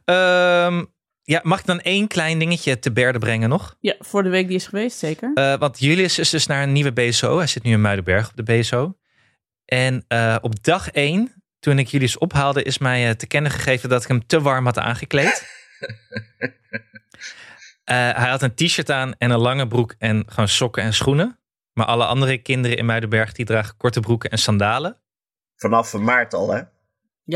[SPEAKER 4] Ehm, ja, mag ik dan één klein dingetje te berde brengen nog?
[SPEAKER 3] ja, voor de week die is geweest, zeker.
[SPEAKER 4] Eh, want Julius is dus naar een nieuwe BSO. Hij zit nu in Muidenberg op de BSO. En eh, op dag één, toen ik Julius ophaalde, is mij eh, te kennen gegeven dat ik hem te warm had aangekleed. Eh, hij had een t-shirt aan en een lange broek en gewoon sokken en schoenen. Maar alle andere kinderen in Muidenberg die dragen korte broeken en sandalen.
[SPEAKER 2] vanaf maart al, hè?
[SPEAKER 1] Ja,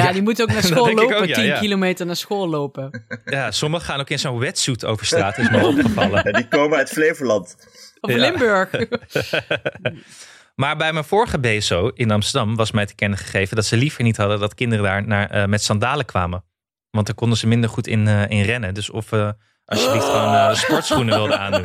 [SPEAKER 4] Ja.
[SPEAKER 1] die moeten ook naar
[SPEAKER 4] Dat
[SPEAKER 1] school
[SPEAKER 4] denk ik
[SPEAKER 1] lopen.
[SPEAKER 4] ook, ja,
[SPEAKER 1] 10
[SPEAKER 4] ja.
[SPEAKER 1] kilometer naar school lopen.
[SPEAKER 4] Ja, sommigen gaan ook in zo'n wetsuit over straat, is me opgevallen.
[SPEAKER 2] Ja, die komen uit Flevoland.
[SPEAKER 1] Of
[SPEAKER 4] Ja.
[SPEAKER 1] Limburg.
[SPEAKER 4] Maar bij mijn vorige BSO in Amsterdam was mij te kennen gegeven dat ze liever niet hadden dat kinderen daar naar, eh, met sandalen kwamen. Want daar konden ze minder goed in, eh, in rennen. Dus of eh, alsjeblieft gewoon
[SPEAKER 1] Oh.
[SPEAKER 4] eh, sportschoenen wilden aandoen.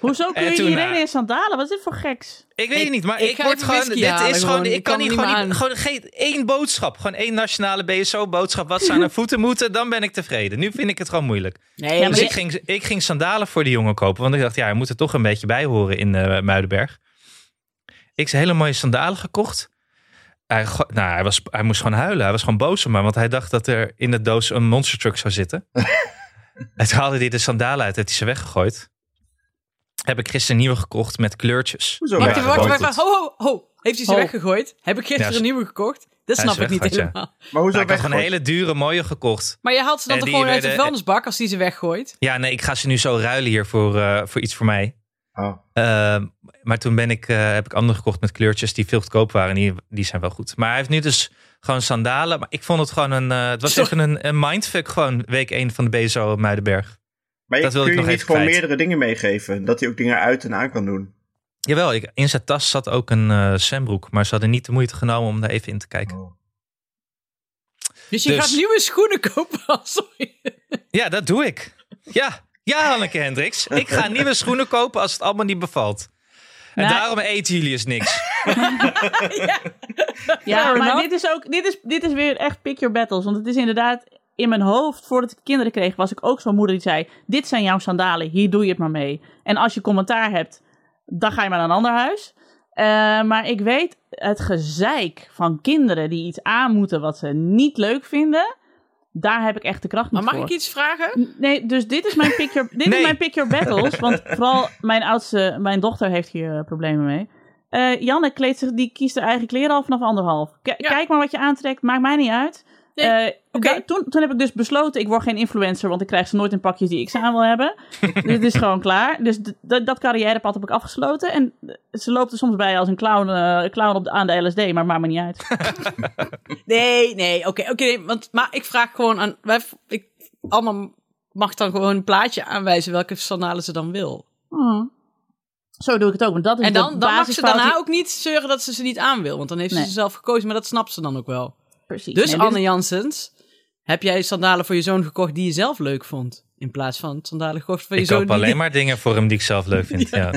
[SPEAKER 3] Hoezo kun
[SPEAKER 4] En
[SPEAKER 3] je
[SPEAKER 4] toen,
[SPEAKER 3] iedereen
[SPEAKER 4] eh,
[SPEAKER 3] in sandalen? Wat is dit voor geks?
[SPEAKER 4] Ik weet het niet, maar
[SPEAKER 1] ik
[SPEAKER 4] ik,
[SPEAKER 1] ga
[SPEAKER 4] word
[SPEAKER 1] even
[SPEAKER 4] gewoon.
[SPEAKER 1] whisky
[SPEAKER 4] Dit
[SPEAKER 1] halen,
[SPEAKER 4] is
[SPEAKER 1] gewoon.
[SPEAKER 4] gewoon. Ik,
[SPEAKER 1] Ik
[SPEAKER 4] kan
[SPEAKER 1] kan
[SPEAKER 4] hier
[SPEAKER 1] er niet
[SPEAKER 4] gewoon,
[SPEAKER 1] meer
[SPEAKER 4] niet, gewoon geen één boodschap. Gewoon één nationale BSO-boodschap. Wat ze aan hun voeten moeten, dan ben ik tevreden. Nu vind ik het gewoon moeilijk.
[SPEAKER 1] Nee,
[SPEAKER 3] Ja,
[SPEAKER 1] maar
[SPEAKER 4] dus
[SPEAKER 1] dit-
[SPEAKER 4] ik ging, ik ging sandalen voor die jongen kopen. Want ik dacht, ja, hij moet er toch een beetje bij horen in eh, Muidenberg. Ik ze hele mooie sandalen gekocht. Hij, go- nou, hij, was, hij moest gewoon huilen. Hij was gewoon boos op me. Want hij dacht dat er in de doos een monster truck zou zitten. en toen haalde hij de sandalen uit. Heeft hij ze weggegooid. Heb ik gisteren nieuwe gekocht met kleurtjes.
[SPEAKER 2] Hoezo
[SPEAKER 1] Wacht,
[SPEAKER 2] Ja,
[SPEAKER 1] even, wacht,
[SPEAKER 2] dat
[SPEAKER 1] wacht,
[SPEAKER 2] klopt.
[SPEAKER 1] wacht. Ho, ho, ho. Heeft hij ze
[SPEAKER 3] Ho.
[SPEAKER 1] weggegooid? Heb ik gisteren
[SPEAKER 4] Ja, ze-
[SPEAKER 1] een nieuwe gekocht? Dat
[SPEAKER 4] Ja,
[SPEAKER 1] snap
[SPEAKER 4] ze
[SPEAKER 1] ik niet
[SPEAKER 4] weggegooid,
[SPEAKER 1] helemaal.
[SPEAKER 2] Maar hoezo
[SPEAKER 4] Maar Nou, ik had gewoon
[SPEAKER 2] weggegooid?
[SPEAKER 4] hele dure mooie gekocht.
[SPEAKER 1] Maar je haalt ze dan
[SPEAKER 4] En
[SPEAKER 1] toch
[SPEAKER 4] die
[SPEAKER 1] gewoon uit de
[SPEAKER 4] werden-
[SPEAKER 1] vuilnisbak als die ze weggooit?
[SPEAKER 4] Ja, nee, ik ga ze nu zo ruilen hier voor, eh, voor iets voor mij.
[SPEAKER 2] Oh.
[SPEAKER 4] Ehm, maar toen ben ik, eh, heb ik andere gekocht met kleurtjes die veel goedkoop waren. en Die, die zijn wel goed. Maar hij heeft nu dus gewoon sandalen. Maar ik vond het gewoon een. eh, het was
[SPEAKER 1] Sorry.
[SPEAKER 4] even een, een mindfuck, gewoon week 1 van de BSO Muidenberg.
[SPEAKER 2] Maar
[SPEAKER 4] Dat
[SPEAKER 2] je,
[SPEAKER 4] wil ik
[SPEAKER 2] kun je
[SPEAKER 4] nog
[SPEAKER 2] niet
[SPEAKER 4] even
[SPEAKER 2] gewoon
[SPEAKER 4] kwijt.
[SPEAKER 2] meerdere dingen meegeven? Dat hij ook dingen uit en aan kan doen.
[SPEAKER 4] Jawel, ik, in zijn tas zat ook een eh zwembroek. Maar ze hadden niet de moeite genomen om daar even in te kijken.
[SPEAKER 2] Oh.
[SPEAKER 1] Dus je
[SPEAKER 4] Dus-
[SPEAKER 1] gaat nieuwe schoenen kopen. Sorry.
[SPEAKER 4] Ja, dat doe ik. Ja, ja, Hanneke Hendricks. Ik ga nieuwe schoenen kopen als het allemaal niet bevalt. En
[SPEAKER 3] Nou-
[SPEAKER 4] daarom eten jullie eens niks.
[SPEAKER 3] Ja,
[SPEAKER 1] Fair
[SPEAKER 3] maar
[SPEAKER 1] enough.
[SPEAKER 3] dit is, ook, dit, is, dit is weer echt pick your battles. Want het is inderdaad, in mijn hoofd, voordat ik kinderen kreeg, was ik ook zo'n moeder die zei... Dit zijn jouw sandalen, hier doe je het maar mee. En als je commentaar hebt, dan ga je maar naar een ander huis. Eh, maar ik weet het gezeik van kinderen die iets aan moeten wat ze niet leuk vinden... Daar heb ik echt de kracht niet
[SPEAKER 1] Maar mag
[SPEAKER 3] voor.
[SPEAKER 1] ik iets vragen?
[SPEAKER 3] Nee, dus dit is mijn pick your, dit
[SPEAKER 4] Nee.
[SPEAKER 3] is mijn pick your battles. Want vooral mijn oudste, mijn dochter heeft hier eh, problemen mee. Eh, Janne kleedt zich, die kiest haar eigen kleren al vanaf anderhalf. K-
[SPEAKER 1] Ja.
[SPEAKER 3] Kijk maar wat je aantrekt, maakt mij niet uit.
[SPEAKER 1] Nee,
[SPEAKER 3] Eh,
[SPEAKER 1] oké.
[SPEAKER 3] da- toen, toen heb ik dus besloten, ik word geen influencer, want ik krijg ze nooit in pakjes die ik ze aan wil hebben. Dit is gewoon klaar. Dus d- dat- dat carrièrepad heb ik afgesloten. En eh, ze loopt er soms bij als een clown, eh, clown op de, aan de LSD, maar maakt me niet uit.
[SPEAKER 1] Nee, nee, oké, oké. nee, want, maar ik vraag gewoon aan... Wij, ik, allemaal mag dan gewoon een plaatje aanwijzen welke sandalen ze dan wil.
[SPEAKER 3] Hmm. Zo doe ik het ook. Want dat is
[SPEAKER 1] En
[SPEAKER 3] de
[SPEAKER 1] dan, dan mag ze
[SPEAKER 3] basisfout die-
[SPEAKER 1] daarna ook niet zeuren dat ze ze niet aan wil. Want dan heeft ze
[SPEAKER 3] Nee.
[SPEAKER 1] ze zelf gekozen, maar dat snapt ze dan ook wel. Dus
[SPEAKER 3] Precies. Nee, dit is-
[SPEAKER 1] Anne Janssens, heb jij sandalen voor je zoon gekocht die je zelf leuk vond? In plaats van sandalen gekocht voor je
[SPEAKER 4] Ik
[SPEAKER 1] zoon
[SPEAKER 4] koop
[SPEAKER 1] die...
[SPEAKER 4] alleen maar dingen voor hem die ik zelf leuk vind. Ja.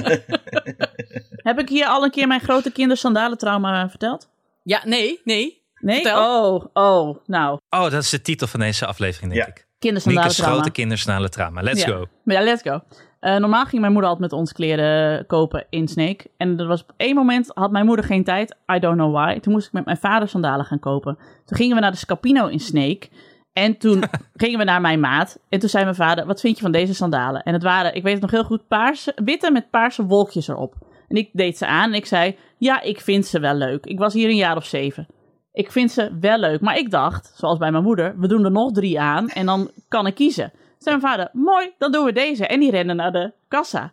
[SPEAKER 3] Heb ik hier al een keer mijn grote kindersandalentrauma verteld?
[SPEAKER 1] Ja, nee, nee.
[SPEAKER 3] Nee?
[SPEAKER 1] Vertel.
[SPEAKER 3] Oh, oh, nou.
[SPEAKER 4] Oh, dat is de titel van deze aflevering, denk
[SPEAKER 2] Ja.
[SPEAKER 4] ik. Niekes
[SPEAKER 3] Kindersandalentrauma.
[SPEAKER 4] grote kindersnale trauma. Let's
[SPEAKER 3] Ja.
[SPEAKER 4] go.
[SPEAKER 3] Maar ja, let's go. Eh, normaal ging mijn moeder altijd met ons kleren kopen in Snake. En er was op één moment, had mijn moeder geen tijd. I don't know why. Toen moest ik met mijn vader sandalen gaan kopen. Toen gingen we naar de Scapino in Snake. En toen gingen we naar mijn maat. En toen zei mijn vader, wat vind je van deze sandalen? En het waren, ik weet het nog heel goed, paarse, witte met paarse wolkjes erop. En ik deed ze aan en ik zei, ja, ik vind ze wel leuk. Ik was hier een jaar of zeven. Ik vind ze wel leuk. Maar ik dacht, zoals bij mijn moeder, we doen er nog drie aan en dan kan ik kiezen. Toen zei mijn vader, mooi, dan doen we deze. En die rennen naar de kassa.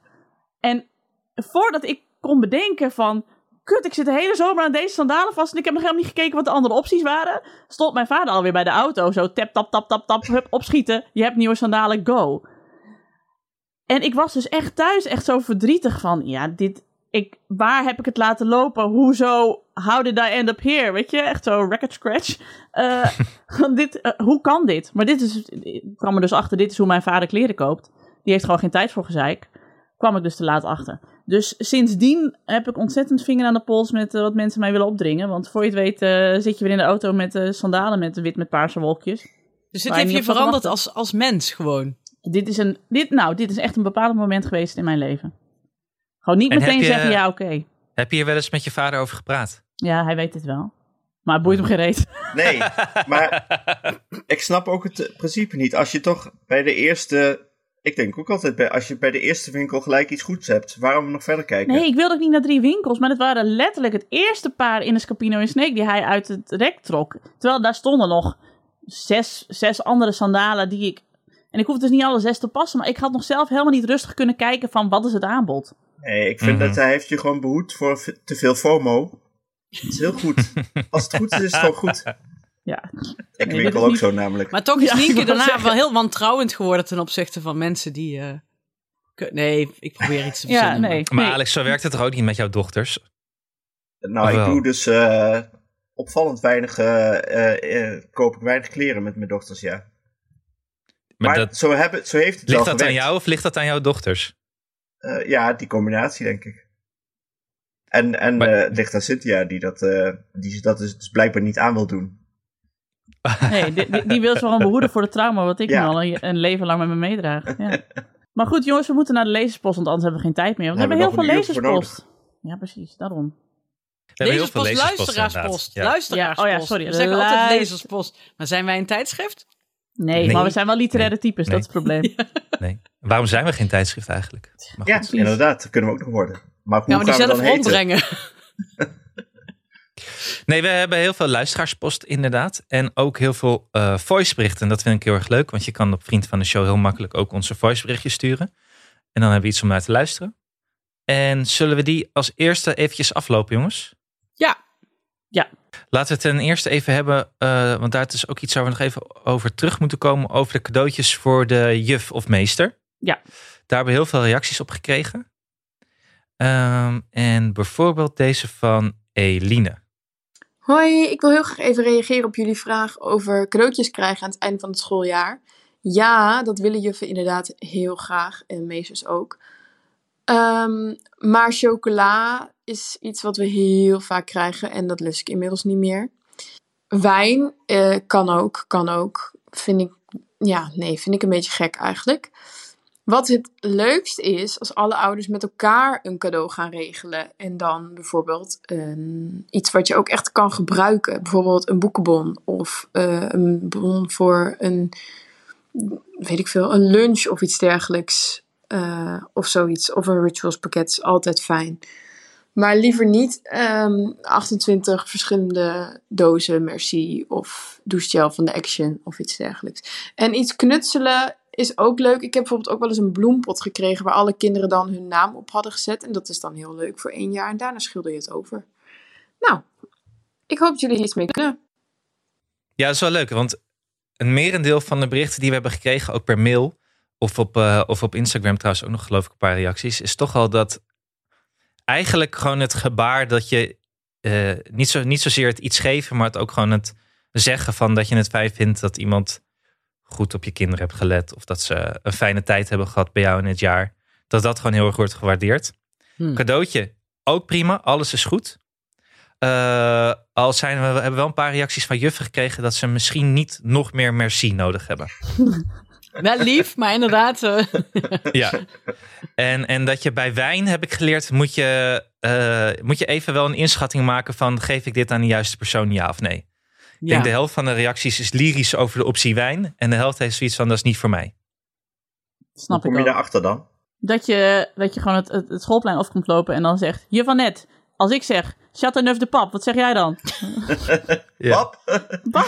[SPEAKER 3] En voordat ik kon bedenken van, kut, ik zit de hele zomer aan deze sandalen vast en ik heb nog helemaal niet gekeken wat de andere opties waren, stond mijn vader alweer bij de auto. Zo tap, tap, tap, tap, tap, hup, opschieten. Je hebt nieuwe sandalen, go. En ik was dus echt thuis echt zo verdrietig van, ja, dit, ik, waar heb ik het laten lopen? Hoezo? How did I end up here? Weet je, echt zo record scratch. Eh, want dit, eh, hoe kan dit? Maar dit is, ik kwam er dus achter, dit is hoe mijn vader kleren koopt. Die heeft gewoon geen tijd voor gezeik. Kwam ik dus te laat achter. Dus sindsdien heb ik ontzettend vinger aan de pols met eh, wat mensen mij willen opdringen. Want voor je het weet eh, zit je weer in de auto met eh, sandalen met wit met paarse wolkjes.
[SPEAKER 1] Dus dit
[SPEAKER 3] Waar je
[SPEAKER 1] heeft je
[SPEAKER 3] niet op zat te
[SPEAKER 1] veranderd
[SPEAKER 3] wachten.
[SPEAKER 1] als, als mens gewoon.
[SPEAKER 3] Dit is, een, dit, nou, dit is echt een bepalend moment geweest in mijn leven. Gewoon niet
[SPEAKER 4] En heb
[SPEAKER 3] meteen
[SPEAKER 4] je-
[SPEAKER 3] zeggen, ja oké.
[SPEAKER 4] Heb je hier wel eens met je vader over gepraat?
[SPEAKER 3] Ja, hij weet het wel. Maar het boeit hem geen reet.
[SPEAKER 2] Nee, maar ik snap ook het eh, principe niet. Als je toch bij de eerste... Ik denk ook altijd, bij, als je bij de eerste winkel gelijk iets goeds hebt, waarom nog verder kijken?
[SPEAKER 3] Nee, ik wilde ook niet naar drie winkels. Maar het waren letterlijk het eerste paar in de Scapino in Sneek die hij uit het rek trok. Terwijl daar stonden nog zes, zes andere sandalen die ik... En ik hoef dus niet alle zes te passen. Maar ik had nog zelf helemaal niet rustig kunnen kijken van wat is het aanbod.
[SPEAKER 2] Nee, ik vind
[SPEAKER 4] Mhm.
[SPEAKER 2] dat hij heeft je gewoon behoed voor v- te veel FOMO. Dat is heel goed. Als het goed is, is het gewoon goed.
[SPEAKER 3] Ja.
[SPEAKER 2] Ik
[SPEAKER 3] Nee, dit
[SPEAKER 2] winkel
[SPEAKER 3] is
[SPEAKER 2] ook
[SPEAKER 3] niet-
[SPEAKER 2] zo namelijk.
[SPEAKER 1] Maar toch is
[SPEAKER 3] Ja, ik
[SPEAKER 1] Nienke
[SPEAKER 3] wou
[SPEAKER 1] daarna
[SPEAKER 3] zeggen.
[SPEAKER 1] wel heel wantrouwend geworden ten opzichte van mensen die... eh, ke- nee, ik probeer iets te
[SPEAKER 3] Ja,
[SPEAKER 1] verzinnen.
[SPEAKER 3] nee.
[SPEAKER 4] Maar
[SPEAKER 3] nee.
[SPEAKER 4] Alex, zo werkt het toch ook niet met jouw dochters?
[SPEAKER 2] Nou, ik
[SPEAKER 4] Wel.
[SPEAKER 2] doe dus eh, opvallend weinig, eh, eh, eh, koop ik weinig kleren met mijn dochters, ja.
[SPEAKER 4] Maar
[SPEAKER 2] Maar
[SPEAKER 4] dat,
[SPEAKER 2] zo, hebben, zo heeft het wel
[SPEAKER 4] ligt dat aan
[SPEAKER 2] gewerkt.
[SPEAKER 4] jou of ligt dat aan jouw dochters?
[SPEAKER 2] Eh, ja, die combinatie, denk ik. En, en
[SPEAKER 4] Maar-
[SPEAKER 2] eh, het ligt aan Cynthia, die dat, eh, die dat dus, dus blijkbaar niet aan wil doen.
[SPEAKER 3] Nee, die, die, die wil ze gewoon behoeden voor het trauma wat ik
[SPEAKER 2] Ja.
[SPEAKER 3] nu al een, een leven lang met me meedraag. Ja. Maar goed, jongens, we moeten naar de lezerspost, want anders hebben we geen tijd meer. Want we
[SPEAKER 2] Daar
[SPEAKER 3] hebben heel veel
[SPEAKER 2] hebben we nog een uur voor
[SPEAKER 3] lezerspost. Ja, precies, daarom.
[SPEAKER 4] We hebben heel veel
[SPEAKER 1] Lezerspost,
[SPEAKER 4] lezerspost,
[SPEAKER 1] luisteraarspost.
[SPEAKER 4] inderdaad. Ja.
[SPEAKER 1] Luisteraarspost.
[SPEAKER 3] Ja, oh ja, sorry.
[SPEAKER 1] We zeggen altijd
[SPEAKER 3] Luister-
[SPEAKER 1] lezerspost. Maar zijn wij een tijdschrift?
[SPEAKER 3] Nee,
[SPEAKER 4] Nee.
[SPEAKER 3] maar we zijn wel literaire types,
[SPEAKER 4] Nee.
[SPEAKER 3] dat is het probleem.
[SPEAKER 4] Nee. Waarom zijn we geen tijdschrift eigenlijk? Maar
[SPEAKER 2] ja,
[SPEAKER 4] Oh, goed.
[SPEAKER 2] inderdaad, dat kunnen we ook nog worden. Maar hoe
[SPEAKER 1] Ja, maar die
[SPEAKER 2] gaan we
[SPEAKER 1] zelf
[SPEAKER 2] dan heten?
[SPEAKER 1] rondbrengen.
[SPEAKER 4] Nee, we hebben heel veel luisteraarspost inderdaad. En ook heel veel eh voiceberichten. En dat vind ik heel erg leuk. Want je kan op Vriend van de Show heel makkelijk ook onze voiceberichtjes sturen. En dan hebben we iets om naar te luisteren. En zullen we die als eerste eventjes aflopen, jongens?
[SPEAKER 1] Ja.
[SPEAKER 3] Ja.
[SPEAKER 4] Laten we het ten eerste even hebben, eh, want daar is ook iets waar we nog even over terug moeten komen. Over de cadeautjes voor de juf of meester.
[SPEAKER 3] Ja.
[SPEAKER 4] Daar hebben we heel veel reacties op gekregen. Ehm, en bijvoorbeeld deze van Eline.
[SPEAKER 5] Hoi, ik wil heel graag even reageren op jullie vraag over cadeautjes krijgen aan het einde van het schooljaar. Ja, dat willen juffen inderdaad heel graag en meesters ook. Ehm, maar chocola is iets wat we heel vaak krijgen en dat lust ik inmiddels niet meer. Wijn eh, kan ook, kan ook. Vind ik, ja, nee, vind ik een beetje gek eigenlijk. Wat het leukst is, als alle ouders met elkaar een cadeau gaan regelen. En dan bijvoorbeeld een, iets wat je ook echt kan gebruiken. Bijvoorbeeld een boekenbon of eh, een bon voor een, weet ik veel, een lunch of iets dergelijks. eh, of zoiets. Of een rituals pakket is altijd fijn. Maar liever niet ehm, 28 verschillende dozen Merci of douchegel van de Action of iets dergelijks. En iets knutselen is ook leuk. Ik heb bijvoorbeeld ook wel eens een bloempot gekregen waar alle kinderen dan hun naam op hadden gezet. En dat is dan heel leuk voor één jaar. En daarna schilder je het over. Nou, ik hoop dat jullie hier iets mee kunnen.
[SPEAKER 4] Ja, dat is wel leuk, want een merendeel van de berichten die we hebben gekregen, ook per mail of op, eh, of op Instagram trouwens ook nog geloof ik een paar reacties, is toch al dat eigenlijk gewoon het gebaar dat je eh, niet, zo, niet zozeer het iets geven, maar het ook gewoon het zeggen van dat je het fijn vindt dat iemand goed op je kinderen hebt gelet of dat ze een fijne tijd hebben gehad bij jou in het jaar, dat dat gewoon heel erg wordt gewaardeerd.
[SPEAKER 1] Hmm.
[SPEAKER 4] Cadeautje, ook prima, alles is goed. Eh, al zijn we, we hebben wel een paar reacties van juffen gekregen dat ze misschien niet nog meer merci nodig hebben.
[SPEAKER 1] Wel lief, maar inderdaad. eh,
[SPEAKER 4] Ja. En, en dat je bij wijn, heb ik geleerd, moet je, eh, moet je even wel een inschatting maken van geef ik dit aan de juiste persoon ja of nee. Ik
[SPEAKER 1] ja.
[SPEAKER 4] denk de helft van de reacties is lyrisch over de optie wijn en de helft heeft zoiets van dat is niet voor mij.
[SPEAKER 2] Hoe
[SPEAKER 3] Snap
[SPEAKER 2] kom
[SPEAKER 3] ik
[SPEAKER 2] je
[SPEAKER 3] ook.
[SPEAKER 2] daarachter dan?
[SPEAKER 3] Dat je, dat je gewoon het, het, het schoolplein af komt lopen en dan zegt... Hier van net, als ik zeg... Chateauneuf de pap, wat zeg jij dan?
[SPEAKER 4] Ja.
[SPEAKER 2] Pap?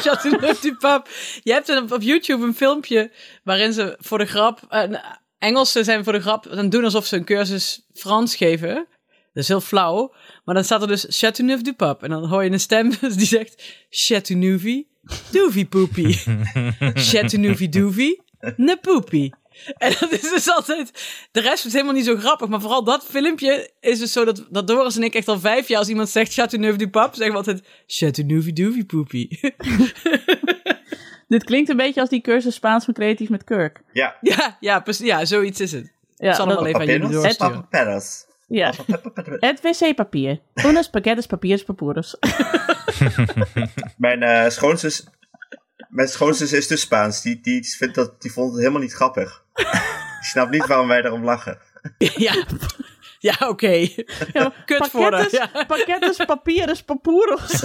[SPEAKER 1] Shut it up, die pap. Je hebt een- op YouTube een filmpje waarin ze voor de grap. eh, Engelsen zijn voor de grap. Dan doen alsof ze een cursus Frans geven. Dat is heel flauw. Maar dan staat er dus Chateauneuf du Pap. En dan hoor je een stem die zegt Chateauneufie, doovie poepie. Chateauneufie doovie, ne poepie. En dat is dus altijd... De rest is helemaal niet zo grappig. Maar vooral dat filmpje is dus zo dat, dat Doris en ik echt al vijf jaar... als iemand zegt Chateauneuf du Pap, zeggen we altijd Chateauneufie doovie poepie.
[SPEAKER 3] Dit klinkt een beetje als die cursus Spaans van creatief met Kirk.
[SPEAKER 2] Ja.
[SPEAKER 1] Ja, ja, precies. Ja, zoiets is het.
[SPEAKER 3] Ja,
[SPEAKER 1] zal hem
[SPEAKER 3] dat-
[SPEAKER 1] wel even aan jullie
[SPEAKER 2] Papinos?
[SPEAKER 1] doorsturen.
[SPEAKER 2] Papinos.
[SPEAKER 3] ja. Het wc-papier. Unos paquetes papiers papurus.
[SPEAKER 2] Mijn eh, schoonzus... Mijn schoonzus is dus Spaans. Die, die, vindt dat, die vond het helemaal niet grappig. Die snapt niet waarom wij daarom lachen.
[SPEAKER 1] Ja, ja oké. Kut voor haar,
[SPEAKER 3] Paquetes,
[SPEAKER 1] ja.
[SPEAKER 3] paquetes papieres papurus.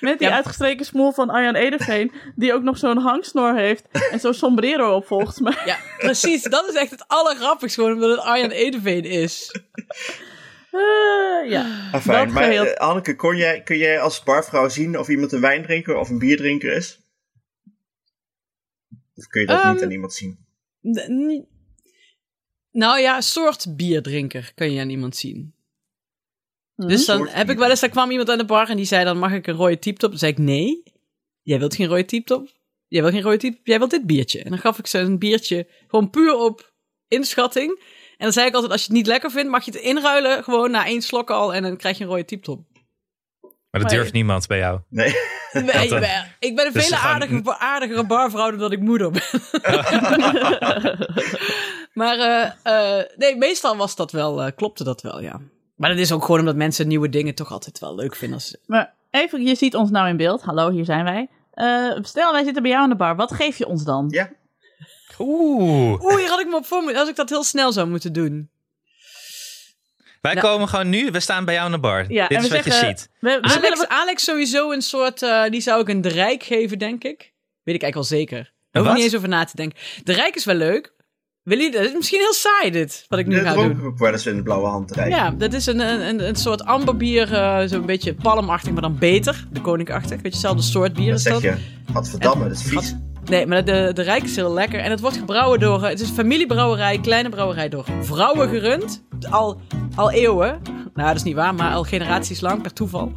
[SPEAKER 3] Met die
[SPEAKER 1] Ja.
[SPEAKER 3] uitgestreken smoel van Arjan Edeveen, die ook nog zo'n hangsnor heeft en zo'n sombrero op volgens mij.
[SPEAKER 1] Ja, precies. Dat is echt het allergrappigste. Gewoon omdat het Arjan Edeveen is.
[SPEAKER 3] Eh, ja.
[SPEAKER 2] Afijn,
[SPEAKER 3] Dat
[SPEAKER 2] maar
[SPEAKER 3] geheel.
[SPEAKER 2] eh, Anneke, kon jij, kun jij als barvrouw zien of iemand een wijndrinker of een bierdrinker is? Of kun je dat niet
[SPEAKER 1] Ehm,
[SPEAKER 2] aan iemand zien?
[SPEAKER 1] N- niet- Nou ja, een soort bierdrinker kan je aan iemand zien. Dus dan
[SPEAKER 2] Soort
[SPEAKER 1] heb ik
[SPEAKER 2] van.
[SPEAKER 1] wel eens, daar kwam iemand aan de bar en die zei dan, mag ik een rode typtop? Dan zei ik, nee, jij wilt geen rode typtop. Jij wilt geen rode typtop, jij wilt dit biertje. En dan gaf ik ze een biertje gewoon puur op inschatting. En dan zei ik altijd, als je het niet lekker vindt, mag je het inruilen gewoon na één slok al en dan krijg je een rode typtop.
[SPEAKER 4] Maar dat
[SPEAKER 3] Maar-
[SPEAKER 4] durft niemand bij jou.
[SPEAKER 2] Nee.
[SPEAKER 1] Nee,
[SPEAKER 4] Dat, eh,
[SPEAKER 1] jawel. ik ben een
[SPEAKER 4] dus
[SPEAKER 1] vele
[SPEAKER 4] ze gaan-
[SPEAKER 1] aardige, aardigere barvrouw dan dat ik moeder ben. maar eh, eh, nee, meestal was dat wel, eh, klopte dat wel, ja. Maar dat is ook gewoon omdat mensen nieuwe dingen toch altijd wel leuk vinden. Als...
[SPEAKER 3] Maar even, je ziet ons nou in beeld. Hallo, hier zijn wij. Eh, stel, wij zitten bij jou aan de bar. Wat geef je ons dan?
[SPEAKER 2] Ja.
[SPEAKER 4] Oeh.
[SPEAKER 1] Oeh, hier had ik me op voor moeten- als ik dat heel snel zou moeten doen.
[SPEAKER 4] Wij
[SPEAKER 1] Nou-
[SPEAKER 4] komen gewoon nu, we staan bij jou aan de bar.
[SPEAKER 3] Ja,
[SPEAKER 4] Dit
[SPEAKER 3] en
[SPEAKER 4] is
[SPEAKER 3] we
[SPEAKER 4] wat
[SPEAKER 3] zeggen-
[SPEAKER 4] je ziet.
[SPEAKER 3] We, we willen
[SPEAKER 1] Dus Alex,
[SPEAKER 3] wat-
[SPEAKER 1] Alex sowieso een soort, eh, die zou ik een de rijk geven, denk ik. Weet ik eigenlijk wel zeker. Daar hoef
[SPEAKER 4] wat?
[SPEAKER 1] ik niet eens over na te denken. De rijk is wel leuk. Wil je, het is misschien heel saai dit, wat ik nu
[SPEAKER 2] Dit
[SPEAKER 1] ga doen.
[SPEAKER 2] dronken we wel eens in de blauwe hand te rijden.
[SPEAKER 1] Ja, dat is een, een, een, een soort amberbier, eh, zo'n beetje palmachtig, maar dan beter. De koninkachtig, weet je, hetzelfde soort bier
[SPEAKER 2] Dan
[SPEAKER 1] is dat.
[SPEAKER 2] zeg je, gadverdamme, dat is vies.
[SPEAKER 1] Nee, maar de, de Rijk is heel lekker. En het wordt gebrouwen door, eh, het is een familiebrouwerij, kleine brouwerij, door vrouwen gerund. Al, al eeuwen. Nou, dat is niet waar, maar al generaties lang, per toeval.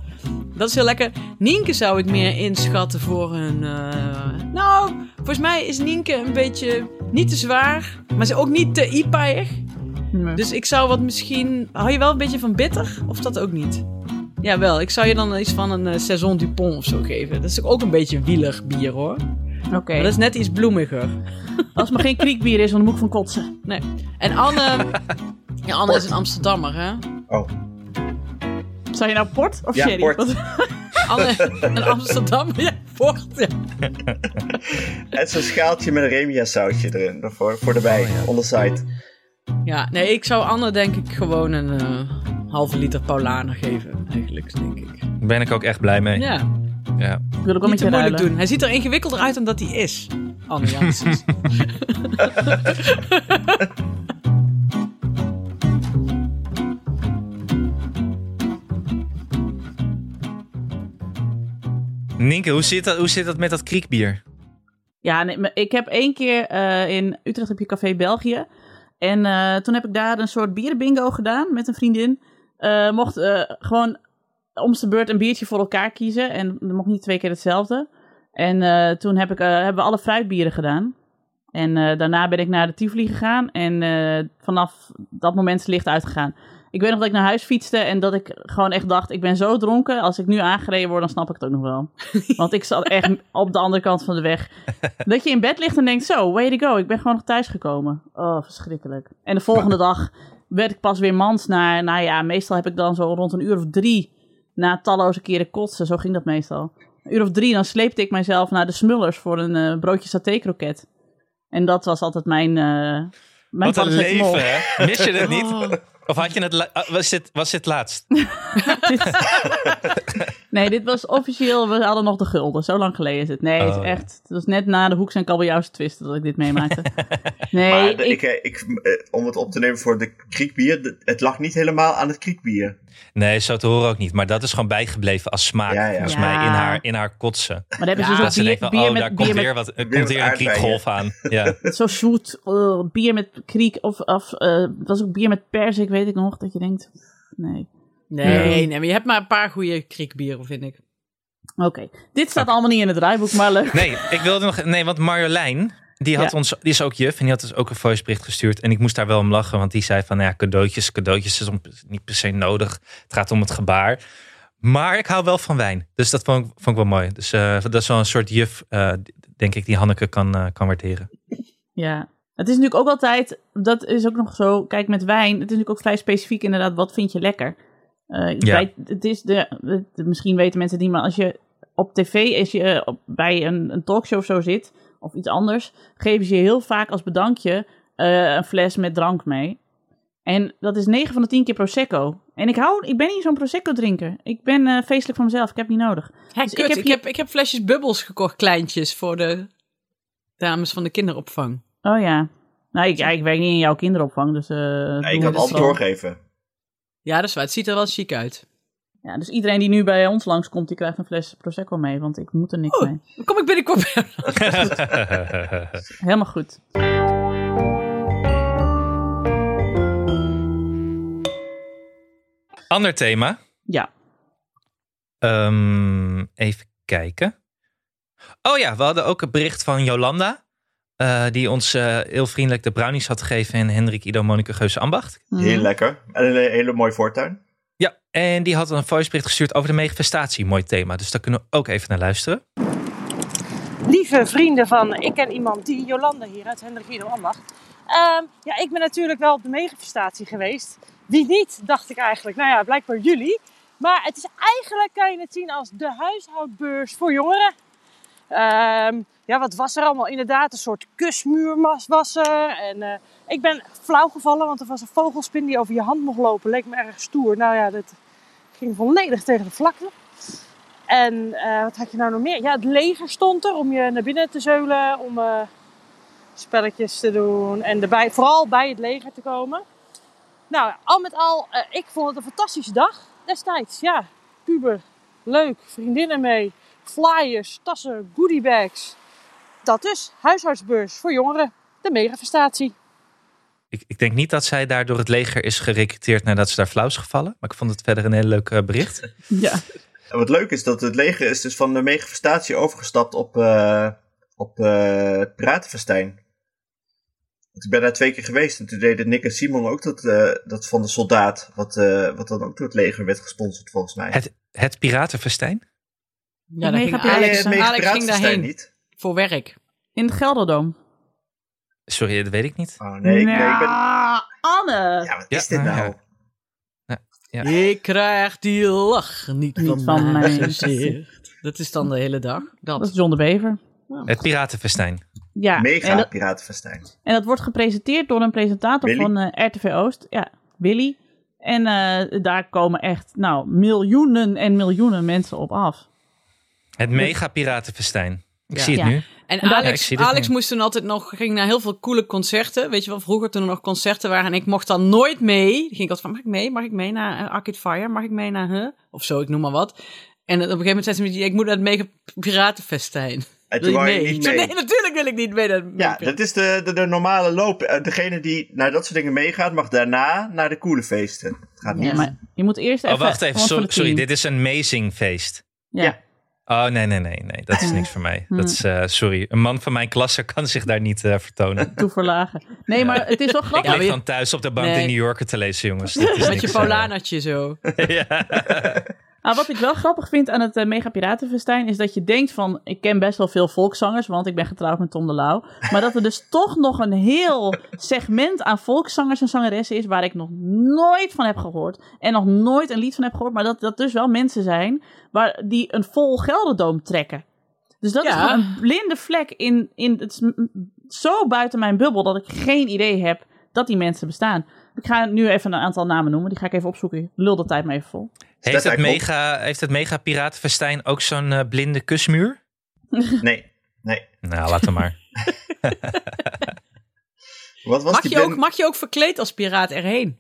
[SPEAKER 1] Dat is heel lekker. Nienke zou ik meer inschatten voor een... eh, nou, volgens mij is Nienke een beetje niet te zwaar, maar ze ook niet te ipaig.
[SPEAKER 3] Nee.
[SPEAKER 1] Dus ik zou wat misschien. Hou je wel een beetje van bitter? Of dat ook niet? Jawel, ik zou je dan iets van een eh, Saison Dupont of zo geven. Dat is ook een beetje een wielig bier hoor. Maar
[SPEAKER 3] Oké,
[SPEAKER 1] dat is net iets bloemiger.
[SPEAKER 3] als het maar geen kriekbier is, want dan moet ik van kotsen.
[SPEAKER 1] Nee. En Anne. ja, Anne is een Amsterdammer hè?
[SPEAKER 2] Oh,
[SPEAKER 3] Zou je nou port of
[SPEAKER 2] Ja,
[SPEAKER 3] sherry?
[SPEAKER 2] port.
[SPEAKER 3] Want-
[SPEAKER 1] Anne, een Amsterdammer. Ja, voort. Ja.
[SPEAKER 2] het is een schaaltje met een remia sausje erin. Daarvoor, voor de bij, on the side.
[SPEAKER 1] ja, nee, ik zou Anne denk ik gewoon een eh, halve liter Paulaner geven. Eigenlijk, denk ik.
[SPEAKER 4] Daar ben ik ook echt blij mee. Ja.
[SPEAKER 1] Ja,
[SPEAKER 3] Ik wil ook
[SPEAKER 1] niet
[SPEAKER 3] wel met
[SPEAKER 1] te
[SPEAKER 3] je
[SPEAKER 1] moeilijk
[SPEAKER 3] ruilen.
[SPEAKER 1] doen. Hij ziet er ingewikkelder uit dan dat hij is. Anne Janssens.
[SPEAKER 4] Nienke, hoe zit, dat, hoe zit dat met dat kriekbier?
[SPEAKER 3] Ja, nee, maar ik heb één keer eh, in Utrecht heb je Café België. En eh, toen heb ik daar een soort bierenbingo gedaan met een vriendin. Eh, mocht eh, gewoon om zijn beurt een biertje voor elkaar kiezen. En er mocht niet twee keer hetzelfde. En eh, toen heb ik, eh, hebben we alle fruitbieren gedaan. En eh, daarna ben ik naar de Tivoli gegaan. En eh, vanaf dat moment is het licht uitgegaan. Ik weet nog dat ik naar huis fietste en dat ik gewoon echt dacht... ik ben zo dronken, als ik nu aangereden word, dan snap ik het ook nog wel. Want ik zat echt op de andere kant van de weg. Dat je in bed ligt en denkt, zo, way to go, ik ben gewoon nog thuis gekomen. Oh, verschrikkelijk. En de volgende dag werd ik pas weer mans na, nou ja, meestal heb ik dan zo rond een uur of drie na talloze keren kotsen, zo ging dat meestal. Een uur of drie, dan sleepte ik mijzelf naar de Smullers voor een eh, broodje satékroket. En dat was altijd mijn... eh mijn
[SPEAKER 4] Wat een
[SPEAKER 3] paracetamol.
[SPEAKER 4] leven, hè? Mis je het niet?
[SPEAKER 1] Oh.
[SPEAKER 4] Of had je het la- ah, was, dit, was dit laatst?
[SPEAKER 3] Nee, dit was officieel, we hadden nog de gulden. Zo lang geleden is het. Nee, het
[SPEAKER 4] Oh.
[SPEAKER 3] is echt, het was net na de Hoeks en Kabeljauwse twist dat ik dit meemaakte. Nee,
[SPEAKER 2] maar de- ik,
[SPEAKER 3] ik,
[SPEAKER 2] eh, ik, eh, om het op te nemen voor de kriekbier, de- het lag niet helemaal aan het kriekbier.
[SPEAKER 4] Nee, zo te horen ook niet. Maar dat is gewoon bijgebleven als smaak.
[SPEAKER 2] Ja, ja.
[SPEAKER 4] Volgens
[SPEAKER 3] Ja.
[SPEAKER 4] mij in haar, in haar kotsen.
[SPEAKER 3] maar daar hebben ze
[SPEAKER 1] Ja,
[SPEAKER 3] zo'n
[SPEAKER 4] dat ze
[SPEAKER 3] bier,
[SPEAKER 4] denkt van,
[SPEAKER 3] bier
[SPEAKER 4] oh,
[SPEAKER 3] met,
[SPEAKER 4] daar komt
[SPEAKER 3] bier
[SPEAKER 4] weer,
[SPEAKER 3] met,
[SPEAKER 4] wat, er
[SPEAKER 2] bier
[SPEAKER 4] komt
[SPEAKER 2] met
[SPEAKER 4] weer een
[SPEAKER 2] aardbeien.
[SPEAKER 4] kriekgolf aan. Ja.
[SPEAKER 3] zo zoet, eh, bier met kriek of, of eh, het was ook bier met persik, weet ik nog, dat je denkt, nee.
[SPEAKER 1] Nee,
[SPEAKER 3] Ja.
[SPEAKER 1] nee, maar je hebt maar een paar goede kriekbieren, vind ik.
[SPEAKER 3] Oké, dit staat allemaal niet in het draaiboek, maar leuk.
[SPEAKER 4] Nee, ik wilde nog. Nee, want Marjolein, die, had
[SPEAKER 3] Ja.
[SPEAKER 4] ons, die is ook juf en die had dus ook een voicebericht gestuurd. En ik moest daar wel om lachen, want die zei van nou ja, cadeautjes, cadeautjes is om- niet per se nodig. Het gaat om het gebaar. Maar ik hou wel van wijn. Dus dat vond ik, vond ik wel mooi. Dus eh, dat is wel een soort juf, eh, denk ik, die Hanneke kan, eh, kan waarderen.
[SPEAKER 3] Ja. Het is natuurlijk ook altijd, dat is ook nog zo, kijk met wijn, het is natuurlijk ook vrij specifiek inderdaad, wat vind je lekker? Eh,
[SPEAKER 4] Ja.
[SPEAKER 3] bij- het is de, het- misschien weten mensen het niet, maar als je op tv, als je eh, op, bij een, een talkshow of zo zit, of iets anders, geven ze je heel vaak als bedankje eh, een fles met drank mee. En dat is 9 van de 10 keer Prosecco. En ik, hou, ik ben niet zo'n Prosecco-drinker. Ik ben eh, feestelijk van mezelf, ik heb niet nodig.
[SPEAKER 1] Hè,
[SPEAKER 3] Dus
[SPEAKER 1] kut, ik, heb ik, heb, flesjes bubbels gekocht, kleintjes, voor de dames van de kinderopvang.
[SPEAKER 3] Oh ja. Nou, ik, ja, ik werk niet in jouw kinderopvang, dus... eh, doen
[SPEAKER 2] Nee, ik kan
[SPEAKER 3] we
[SPEAKER 2] het
[SPEAKER 3] dus
[SPEAKER 2] altijd
[SPEAKER 3] wel.
[SPEAKER 2] doorgeven.
[SPEAKER 1] Ja, dat is waar. Het ziet er wel chic uit.
[SPEAKER 3] Ja, dus iedereen die nu bij ons langskomt, die krijgt een fles Prosecco mee, want ik moet er niks
[SPEAKER 1] Oh.
[SPEAKER 3] mee.
[SPEAKER 1] Dan kom ik binnenkort weer.
[SPEAKER 3] Helemaal goed.
[SPEAKER 4] Ander thema.
[SPEAKER 3] Ja.
[SPEAKER 4] Ehm, even kijken. Oh ja, we hadden ook een bericht van Jolanda. eh, die ons eh, heel vriendelijk de brownies had gegeven in Hendrik Ido Monique Geuze Ambacht.
[SPEAKER 3] Mhm.
[SPEAKER 2] Heel lekker. En een hele mooie voortuin.
[SPEAKER 4] Ja, en die had een voicebericht gestuurd over de manifestatie. Mooi thema, dus daar kunnen we ook even naar luisteren.
[SPEAKER 6] lieve vrienden van Ik ken iemand die, Jolanda hier uit Hendrik Ido Ambacht. Ehm, ja, ik ben natuurlijk wel op de megafestatie geweest. Wie niet, dacht ik eigenlijk. Nou ja, blijkbaar jullie. Maar het is eigenlijk, kan je het zien als de huishoudbeurs voor jongeren. Ehm, ja, wat was er allemaal? Inderdaad, een soort kusmuur was- was er. En eh, ik ben flauw gevallen, want er was een vogelspin die over je hand mocht lopen. Leek me erg stoer. Nou ja, dat ging volledig tegen de vlakte. En eh, wat had je nou nog meer? Ja, het leger stond er om je naar binnen te zeulen, om eh, spelletjes te doen en erbij, vooral bij het leger te komen. Nou, al met al, eh, ik vond het een fantastische dag destijds. Ja, puber, leuk, vriendinnen mee, flyers, tassen, goodiebags. Dat dus, huishoudbeurs voor jongeren, de megafestatie.
[SPEAKER 4] Ik, ik denk niet dat zij daar door het leger is gerekruteerd nadat ze daar flauw is gevallen. Maar ik vond het verder een heel leuk eh, bericht.
[SPEAKER 3] Ja.
[SPEAKER 2] En wat leuk is dat het leger is dus van de megafestatie overgestapt op, eh op eh, het piratenfestijn. Want ik ben daar twee keer geweest en toen deden Nick en Simon ook dat, eh, dat van de soldaat. Wat, eh, wat dan ook door het leger werd gesponsord volgens mij.
[SPEAKER 4] Het, het piratenfestijn?
[SPEAKER 1] Ja, daar ging
[SPEAKER 3] Mega-
[SPEAKER 2] Nee,
[SPEAKER 1] Alex,
[SPEAKER 2] het mega
[SPEAKER 1] Alex ging
[SPEAKER 2] piratenfestijn
[SPEAKER 1] daarheen
[SPEAKER 2] niet.
[SPEAKER 1] voor werk.
[SPEAKER 3] In het Gelderdoom.
[SPEAKER 4] Sorry, dat weet ik niet.
[SPEAKER 2] Oh nee, ik- nee, ik ben...
[SPEAKER 3] Nou, Anne!
[SPEAKER 2] Ja, wat
[SPEAKER 4] Ja,
[SPEAKER 2] is dit
[SPEAKER 4] nou
[SPEAKER 2] nou?
[SPEAKER 4] ja. Ja.
[SPEAKER 1] Ik krijg die lach niet,
[SPEAKER 3] Niet
[SPEAKER 1] van,
[SPEAKER 3] van
[SPEAKER 1] mijn
[SPEAKER 3] mijn
[SPEAKER 1] gezicht. Dat is dan de hele dag. Dat.
[SPEAKER 3] Dat is John de Bever.
[SPEAKER 4] Het piratenfestijn.
[SPEAKER 3] Ja.
[SPEAKER 2] Mega
[SPEAKER 3] En dat,
[SPEAKER 2] piratenfestijn.
[SPEAKER 3] en dat wordt gepresenteerd door een presentator
[SPEAKER 2] Willy?
[SPEAKER 3] van eh, RTV Oost. Ja, Willy. En eh, daar komen echt, nou, miljoenen en miljoenen mensen op af.
[SPEAKER 4] Het mega piratenfestijn. Ik
[SPEAKER 1] Ja.
[SPEAKER 4] zie het
[SPEAKER 3] Ja.
[SPEAKER 4] nu.
[SPEAKER 1] En
[SPEAKER 3] En dat-
[SPEAKER 4] Ja, ik
[SPEAKER 1] Alex,
[SPEAKER 4] zie dit
[SPEAKER 1] Alex
[SPEAKER 4] nu.
[SPEAKER 1] moest toen altijd nog, ging naar heel veel coole concerten. Weet je wel, vroeger toen er nog concerten waren en ik mocht dan nooit mee. Dan ging ik altijd van, mag ik mee? Mag ik mee naar eh, Arcade Fire? Mag ik mee naar, huh? Of zo, ik noem maar wat. En op een gegeven moment zei ze, me, ik moet naar het mega piratenfestijn. Wil
[SPEAKER 2] En toen
[SPEAKER 1] je
[SPEAKER 2] wou je
[SPEAKER 1] mee?
[SPEAKER 2] niet
[SPEAKER 1] Ik zei,
[SPEAKER 2] mee.
[SPEAKER 1] nee, natuurlijk wil ik niet mee naar het
[SPEAKER 2] Ja,
[SPEAKER 1] mega-
[SPEAKER 2] dat is de, de, de normale loop. Eh, Degene die naar dat soort dingen meegaat, mag daarna naar de coole feesten. Het gaat niet.
[SPEAKER 3] Ja, maar je moet eerst even...
[SPEAKER 4] Oh, wacht even.
[SPEAKER 3] want voor
[SPEAKER 4] Sorry,
[SPEAKER 3] het
[SPEAKER 4] sorry,
[SPEAKER 3] team.
[SPEAKER 4] dit is een amazing feest.
[SPEAKER 3] Ja.
[SPEAKER 4] Oh, nee, nee, nee, nee. Dat is niks voor mij.
[SPEAKER 3] Hmm.
[SPEAKER 4] Dat is, eh, sorry, een man van mijn klasse kan zich daar niet eh, vertonen.
[SPEAKER 3] Toe verlagen. Nee, maar het is wel
[SPEAKER 4] Ik
[SPEAKER 3] grappig.
[SPEAKER 1] maar
[SPEAKER 4] lig
[SPEAKER 1] je-
[SPEAKER 4] dan thuis op de bank
[SPEAKER 1] Nee.
[SPEAKER 4] in New Yorker te lezen, jongens. Dat is
[SPEAKER 1] Met je
[SPEAKER 4] niks,
[SPEAKER 1] Paulanertje zo.
[SPEAKER 4] eh, ja.
[SPEAKER 3] Ah, wat ik wel grappig vind aan het eh, Mega Piratenfestijn is dat je denkt van, ik ken best wel veel volkszangers, want ik ben getrouwd met Tom de Lauw. Maar dat er dus toch nog een heel segment aan volkszangers en zangeressen is waar ik nog nooit van heb gehoord. En nog nooit een lied van heb gehoord, maar dat dat dus wel mensen zijn waar, die een vol Gelderdoom trekken. Dus dat is
[SPEAKER 1] Ja.
[SPEAKER 3] gewoon een blinde vlek in, in het is m- m- zo buiten mijn bubbel dat ik geen idee heb dat die mensen bestaan. Ik ga nu even een aantal namen noemen, die ga ik even opzoeken. Lul de tijd maar even vol.
[SPEAKER 4] heeft, het
[SPEAKER 2] eigenlijk
[SPEAKER 4] mega, heeft het mega piratenfestijn ook zo'n eh, blinde kusmuur?
[SPEAKER 2] Nee.
[SPEAKER 4] Nou, laat hem maar.
[SPEAKER 2] Wat was
[SPEAKER 1] Mag
[SPEAKER 2] die
[SPEAKER 1] je, ook,
[SPEAKER 2] ben-
[SPEAKER 1] mag je ook verkleed als piraat erheen?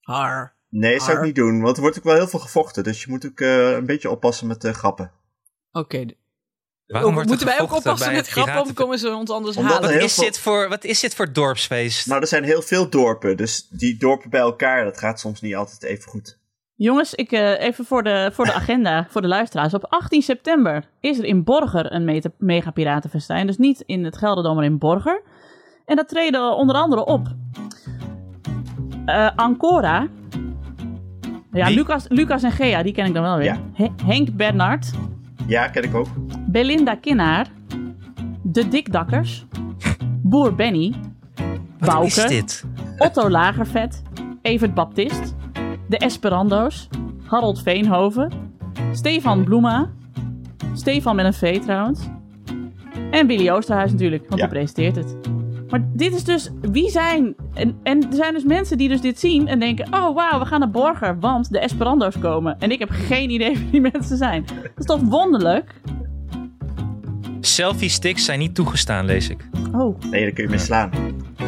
[SPEAKER 1] Har.
[SPEAKER 2] Nee, zou ik
[SPEAKER 1] Ar.
[SPEAKER 2] niet doen, want er wordt ook wel heel veel gevochten. Dus je moet ook eh, een beetje oppassen met de grappen.
[SPEAKER 1] Oké.
[SPEAKER 4] Waarom
[SPEAKER 1] Ook-
[SPEAKER 4] wordt er
[SPEAKER 1] Moeten wij ook
[SPEAKER 4] gevochten
[SPEAKER 1] oppassen
[SPEAKER 4] bij
[SPEAKER 1] met
[SPEAKER 4] het
[SPEAKER 1] grappen of
[SPEAKER 4] piratenfe-
[SPEAKER 1] komen ze ons anders
[SPEAKER 2] Omdat
[SPEAKER 1] halen?
[SPEAKER 2] er heel
[SPEAKER 4] Is
[SPEAKER 2] veel-
[SPEAKER 4] dit voor, wat is dit voor dorpsfeest?
[SPEAKER 2] Nou, er zijn heel veel dorpen, dus die dorpen bij elkaar, dat gaat soms niet altijd even goed.
[SPEAKER 3] Jongens, ik, eh, even voor de, voor de agenda, voor de luisteraars. Op 18 september is er in Borger een meta- mega piratenfestijn. Dus niet in het Gelderdoom, maar in Borger. En daar treden onder andere op eh, Ancora. Ja,
[SPEAKER 4] Wie?
[SPEAKER 3] Lucas, Lucas en Gea, die ken ik dan wel weer.
[SPEAKER 2] Ja.
[SPEAKER 3] He- Henk Bernard,
[SPEAKER 2] Ja, ken ik ook.
[SPEAKER 3] Belinda Kinnaar, De Dikdakkers, Boer Benny,
[SPEAKER 4] Wat
[SPEAKER 3] Bouke.
[SPEAKER 4] is dit?
[SPEAKER 3] Otto Lagervet, Evert Baptist, de Esperando's, Harold Veenhoven, Stefan Bloema, Stefan met een V trouwens, en Willy Oosterhuis natuurlijk, want
[SPEAKER 2] Ja.
[SPEAKER 3] die presenteert het. Maar dit is dus, wie zijn, en, en er zijn dus mensen die dus dit zien en denken, oh wauw, we gaan naar Borger, want de Esperando's komen. En ik heb geen idee wie die mensen zijn. Dat is toch wonderlijk?
[SPEAKER 4] Selfie sticks zijn niet toegestaan, lees ik.
[SPEAKER 3] Oh,
[SPEAKER 2] Nee, daar kun je mee slaan.
[SPEAKER 3] ze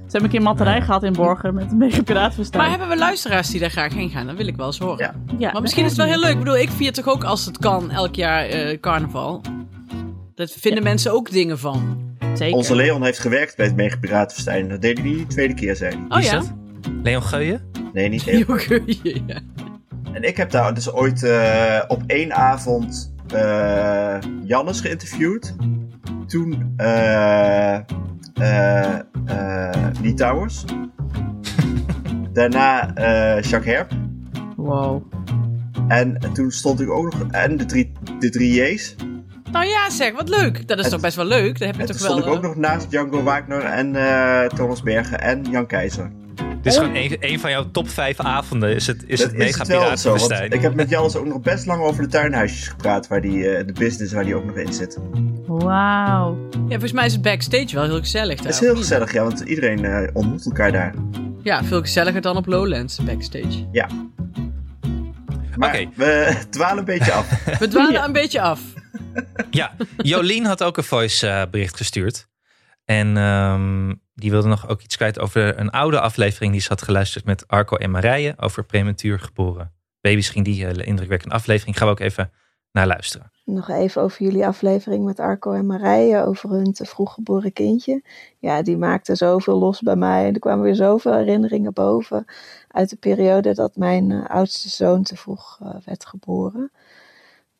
[SPEAKER 3] hebben een keer matterij gehad in Borger met een mega piraatverstand.
[SPEAKER 1] Maar hebben we luisteraars die daar graag heen gaan? Dat wil ik wel eens horen.
[SPEAKER 2] Ja.
[SPEAKER 3] Ja,
[SPEAKER 1] Maar misschien is het wel heel leuk. Ik bedoel, ik vier toch ook als het kan elk jaar eh, carnaval. Daar vinden mensen ook dingen van.
[SPEAKER 3] Zeker.
[SPEAKER 2] Onze Leon heeft gewerkt bij het Mega Piratenfestijn. Dat deed hij niet de tweede keer, zijn.
[SPEAKER 1] Oh
[SPEAKER 4] Wie is
[SPEAKER 1] ja?
[SPEAKER 4] dat? Leon Geuyen?
[SPEAKER 2] Nee, niet heel.
[SPEAKER 1] Joke, ja.
[SPEAKER 2] En ik heb daar dus ooit eh, op één avond eh Jannes geïnterviewd. Toen eh eh, eh, Lee Towers. Daarna eh Jacques Herp.
[SPEAKER 1] Wow.
[SPEAKER 2] En toen stond ik ook nog... En de drie, de drie J's.
[SPEAKER 1] Nou ja, zeg, wat leuk. Dat is
[SPEAKER 2] En-
[SPEAKER 1] toch best wel leuk. Dan heb je
[SPEAKER 2] En toen
[SPEAKER 1] toch
[SPEAKER 2] stond
[SPEAKER 1] wel.
[SPEAKER 2] ik ook
[SPEAKER 1] eh,
[SPEAKER 2] nog naast Django Wagner en eh, Thomas Bergen en Jan Keizer.
[SPEAKER 4] Dit is gewoon een, een van jouw top vijf avonden. Is het, is
[SPEAKER 2] Dat
[SPEAKER 4] het mega
[SPEAKER 2] het wel zo, want
[SPEAKER 4] piratenfestijn.
[SPEAKER 2] ik heb met Jannes ook nog best lang over de tuinhuisjes gepraat, waar die, eh, de business waar die ook nog in zit.
[SPEAKER 3] Wauw.
[SPEAKER 1] Ja, volgens mij is het backstage wel heel gezellig. daar,
[SPEAKER 2] Het is
[SPEAKER 1] of
[SPEAKER 2] heel
[SPEAKER 1] niet?
[SPEAKER 2] gezellig, ja, want iedereen eh, ontmoet elkaar daar.
[SPEAKER 1] Ja, veel gezelliger dan op Lowlands backstage.
[SPEAKER 2] Maar
[SPEAKER 4] Oké.
[SPEAKER 2] we dwalen een beetje af.
[SPEAKER 1] We dwalen
[SPEAKER 3] Ja.
[SPEAKER 1] een beetje af.
[SPEAKER 4] Ja, Jolien had ook een voice eh, bericht gestuurd. En ehm, die wilde nog ook iets kwijt over een oude aflevering die ze had geluisterd met Arco en Marije over prematuur geboren baby's. Ging die hele indrukwekkende aflevering. Gaan we ook even naar luisteren.
[SPEAKER 7] Nog even over jullie aflevering met Arco en Marije over hun te vroeg geboren kindje. Ja, die maakte zoveel los bij mij. Er kwamen weer zoveel herinneringen boven uit de periode dat mijn eh, oudste zoon te vroeg eh, werd geboren.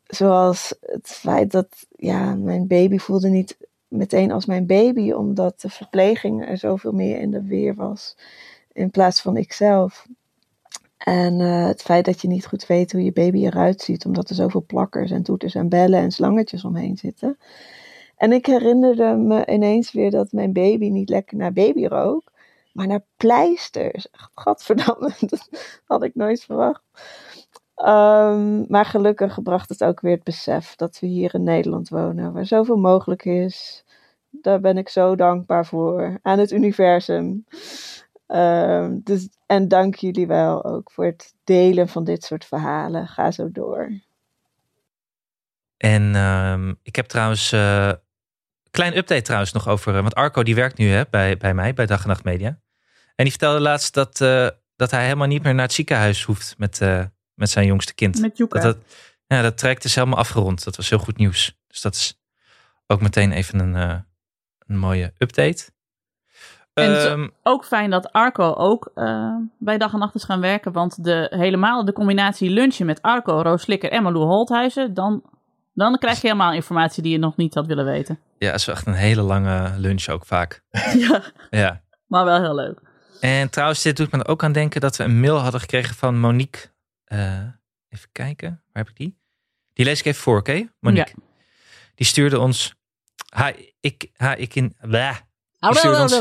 [SPEAKER 7] Zoals het feit dat ja, mijn baby voelde niet meteen als mijn baby, omdat de verpleging er zoveel meer in de weer was in plaats van ikzelf. En eh, het feit dat je niet goed weet hoe je baby eruit ziet, omdat er zoveel plakkers en toeters en bellen en slangetjes omheen zitten. En ik herinnerde me ineens weer dat mijn baby niet lekker naar baby rook, maar naar pleisters. Gadverdamme, dat had ik nooit verwacht. Ehm, maar gelukkig bracht het ook weer het besef dat we hier in Nederland wonen, waar zoveel mogelijk is. Daar ben ik zo dankbaar voor aan het universum. Ehm, dus, en dank jullie wel ook voor het delen van dit soort verhalen. Ga zo door.
[SPEAKER 4] En ehm, ik heb trouwens. eh, klein update trouwens nog over. eh, want Arco die werkt nu hè, bij, bij mij, bij Dag en Nacht Media. En die vertelde laatst dat, eh, dat hij helemaal niet meer naar het ziekenhuis hoeft met, eh, met zijn jongste kind.
[SPEAKER 3] Met Joeka.
[SPEAKER 4] Dat, dat, ja, dat traject is helemaal afgerond. Dat was heel goed nieuws. Dus dat is ook meteen even een, eh, een mooie update.
[SPEAKER 3] En zo-
[SPEAKER 4] Ehm,
[SPEAKER 3] Ook fijn dat Arco ook eh, bij dag en nacht is gaan werken. Want de, helemaal de combinatie lunchen met Arco, Roos Slikker en Malou Holthuizen. Dan, dan krijg je helemaal informatie die je nog niet had willen weten.
[SPEAKER 4] ja, het is wel echt een hele lange lunch ook vaak.
[SPEAKER 3] ja,
[SPEAKER 4] Ja.
[SPEAKER 3] maar wel heel leuk.
[SPEAKER 4] En trouwens, dit doet me er ook aan denken dat we een mail hadden gekregen van Monique. Eh, even kijken, waar heb ik die? Die lees ik even voor, oké? Monique. Die stuurde ons. Ha, ik, ha, ik in. Blah. Die stuurde ons-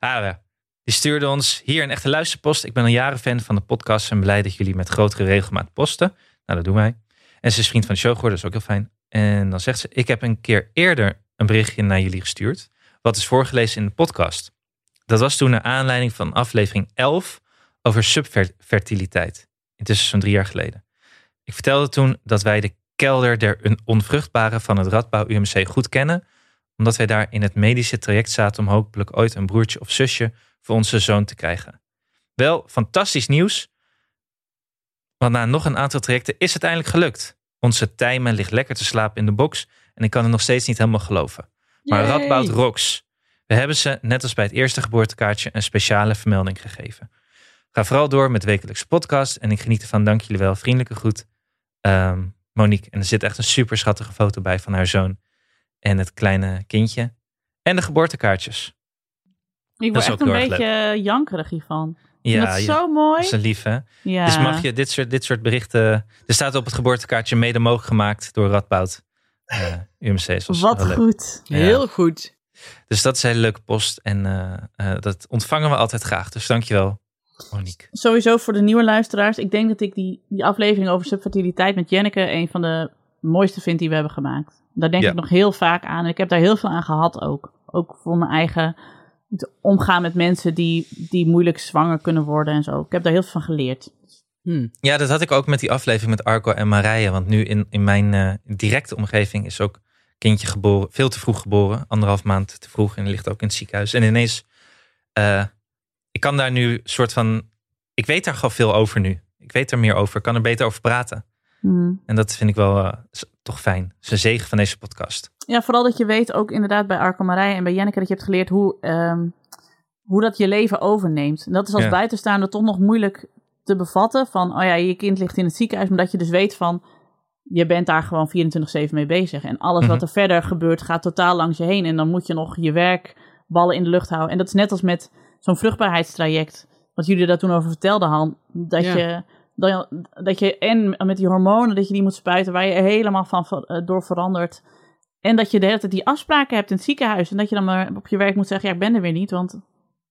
[SPEAKER 4] Ah, ja. Die stuurde ons hier een echte luisterpost. Ik ben al jaren fan van de podcast en blij dat jullie met grotere regelmaat posten. Nou, dat doen wij. En ze is vriend van de show geworden, dat is ook heel fijn. En dan zegt ze, ik heb een keer eerder een berichtje naar jullie gestuurd. Wat is voorgelezen in de podcast. Dat was toen naar aanleiding van aflevering 11 over subfertiliteit. Intussen zo'n drie jaar geleden. Ik vertelde toen dat wij de kelder der un- onvruchtbare van het Radbouw UMC goed kennen omdat wij daar in het medische traject zaten om hopelijk ooit een broertje of zusje voor onze zoon te krijgen. Wel, fantastisch nieuws, want na nog een aantal trajecten is het eindelijk gelukt. Onze Tijmen ligt lekker te slapen in de box en ik kan het nog steeds niet helemaal geloven. Maar
[SPEAKER 3] Yay.
[SPEAKER 4] Radboud rocks. We hebben ze, net als bij het eerste geboortekaartje, een speciale vermelding gegeven. Ga vooral door met wekelijkse podcast en ik geniet ervan. Dank jullie wel. Vriendelijke groet, ehm, Monique. En er zit echt een super schattige foto bij van haar zoon en het kleine kindje. En de geboortekaartjes.
[SPEAKER 3] Ik
[SPEAKER 4] Dat
[SPEAKER 3] word
[SPEAKER 4] is ook
[SPEAKER 3] echt een
[SPEAKER 4] heel erg
[SPEAKER 3] beetje jankerig hiervan. Ja, dat
[SPEAKER 4] Ja,
[SPEAKER 3] is
[SPEAKER 4] ja.
[SPEAKER 3] zo mooi.
[SPEAKER 4] Dat is een lief, hè?
[SPEAKER 3] Ja.
[SPEAKER 4] Dus mag je dit soort, dit soort berichten... Er staat op het geboortekaartje mede mogelijk gemaakt door Radboud. eh UMC. Dus dat is
[SPEAKER 3] Wat
[SPEAKER 4] wel leuk.
[SPEAKER 3] goed.
[SPEAKER 4] Ja.
[SPEAKER 1] Heel goed.
[SPEAKER 4] Dus dat is een hele leuke post. En eh, eh, dat ontvangen we altijd graag. Dus dankjewel, Monique.
[SPEAKER 3] Sowieso voor de nieuwe luisteraars. Ik denk dat ik die, die aflevering over subfertiliteit met Jenneke een van de mooiste vind die we hebben gemaakt. Daar denk
[SPEAKER 4] Ja.
[SPEAKER 3] ik nog heel vaak aan. En ik heb daar heel veel aan gehad ook. Ook voor mijn eigen het omgaan met mensen die, die moeilijk zwanger kunnen worden en zo. Ik heb daar heel veel van geleerd.
[SPEAKER 1] Hm.
[SPEAKER 4] Ja, dat had ik ook met die aflevering met Arco en Marije. Want nu in, in mijn eh, directe omgeving is ook kindje geboren. Veel te vroeg geboren. Anderhalf maand te vroeg. En ligt ook in het ziekenhuis. En ineens, eh, ik kan daar nu soort van... Ik weet daar gewoon veel over nu. Ik weet er meer over. Ik kan er beter over praten.
[SPEAKER 3] Hmm.
[SPEAKER 4] En dat vind ik wel eh, is toch fijn. Dat is een zegen van deze podcast.
[SPEAKER 3] Ja, vooral dat je weet ook inderdaad bij Arco Marij en bij Jenneke dat je hebt geleerd hoe, ehm, hoe dat je leven overneemt. En dat is als
[SPEAKER 4] Ja.
[SPEAKER 3] buitenstaander toch nog moeilijk te bevatten van, oh ja, je kind ligt in het ziekenhuis, maar dat je dus weet van, je bent daar gewoon 24-7 mee bezig. En alles wat
[SPEAKER 4] Mhm.
[SPEAKER 3] er verder gebeurt gaat totaal langs je heen. En dan moet je nog je werk ballen in de lucht houden. En dat is net als met zo'n vruchtbaarheidstraject, wat jullie daar toen over vertelden, Han, dat
[SPEAKER 1] Ja.
[SPEAKER 3] je... Dat, dat je en met die hormonen dat je die moet spuiten, waar je helemaal van ver- eh, door verandert. En dat je de hele tijd die afspraken hebt in het ziekenhuis. En dat je dan maar op je werk moet zeggen: ja, ik ben er weer niet, want ik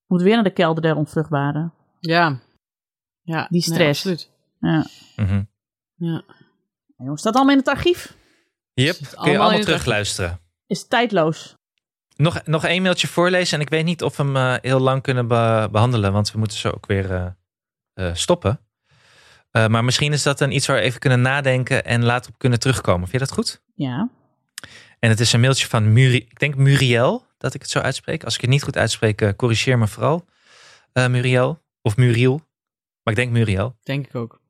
[SPEAKER 3] moet weer naar de kelder der onvruchtbaren.
[SPEAKER 1] Ja. ja.
[SPEAKER 3] Die
[SPEAKER 1] nee,
[SPEAKER 3] stress.
[SPEAKER 1] absoluut.
[SPEAKER 3] Ja.
[SPEAKER 4] Mhm.
[SPEAKER 1] Ja.
[SPEAKER 3] En jongens, staat allemaal in het archief.
[SPEAKER 4] Yep,
[SPEAKER 1] Zit
[SPEAKER 4] kun je
[SPEAKER 1] allemaal in
[SPEAKER 4] allemaal
[SPEAKER 1] het
[SPEAKER 4] terugluisteren.
[SPEAKER 3] Is tijdloos.
[SPEAKER 4] Nog, nog één mailtje voorlezen en ik weet niet of we hem eh, heel lang kunnen be- behandelen, want we moeten ze ook weer eh, eh, stoppen. Eh, maar misschien is dat dan iets waar we even kunnen nadenken en later op kunnen terugkomen. Vind je dat goed?
[SPEAKER 3] Ja.
[SPEAKER 4] En het is een mailtje van Muri, ik denk Muriel, dat ik het zo uitspreek. Als ik het niet goed uitspreek, eh, corrigeer me vooral. Eh, Muriel, of Muriel, maar ik denk Muriel.
[SPEAKER 1] Denk ik ook.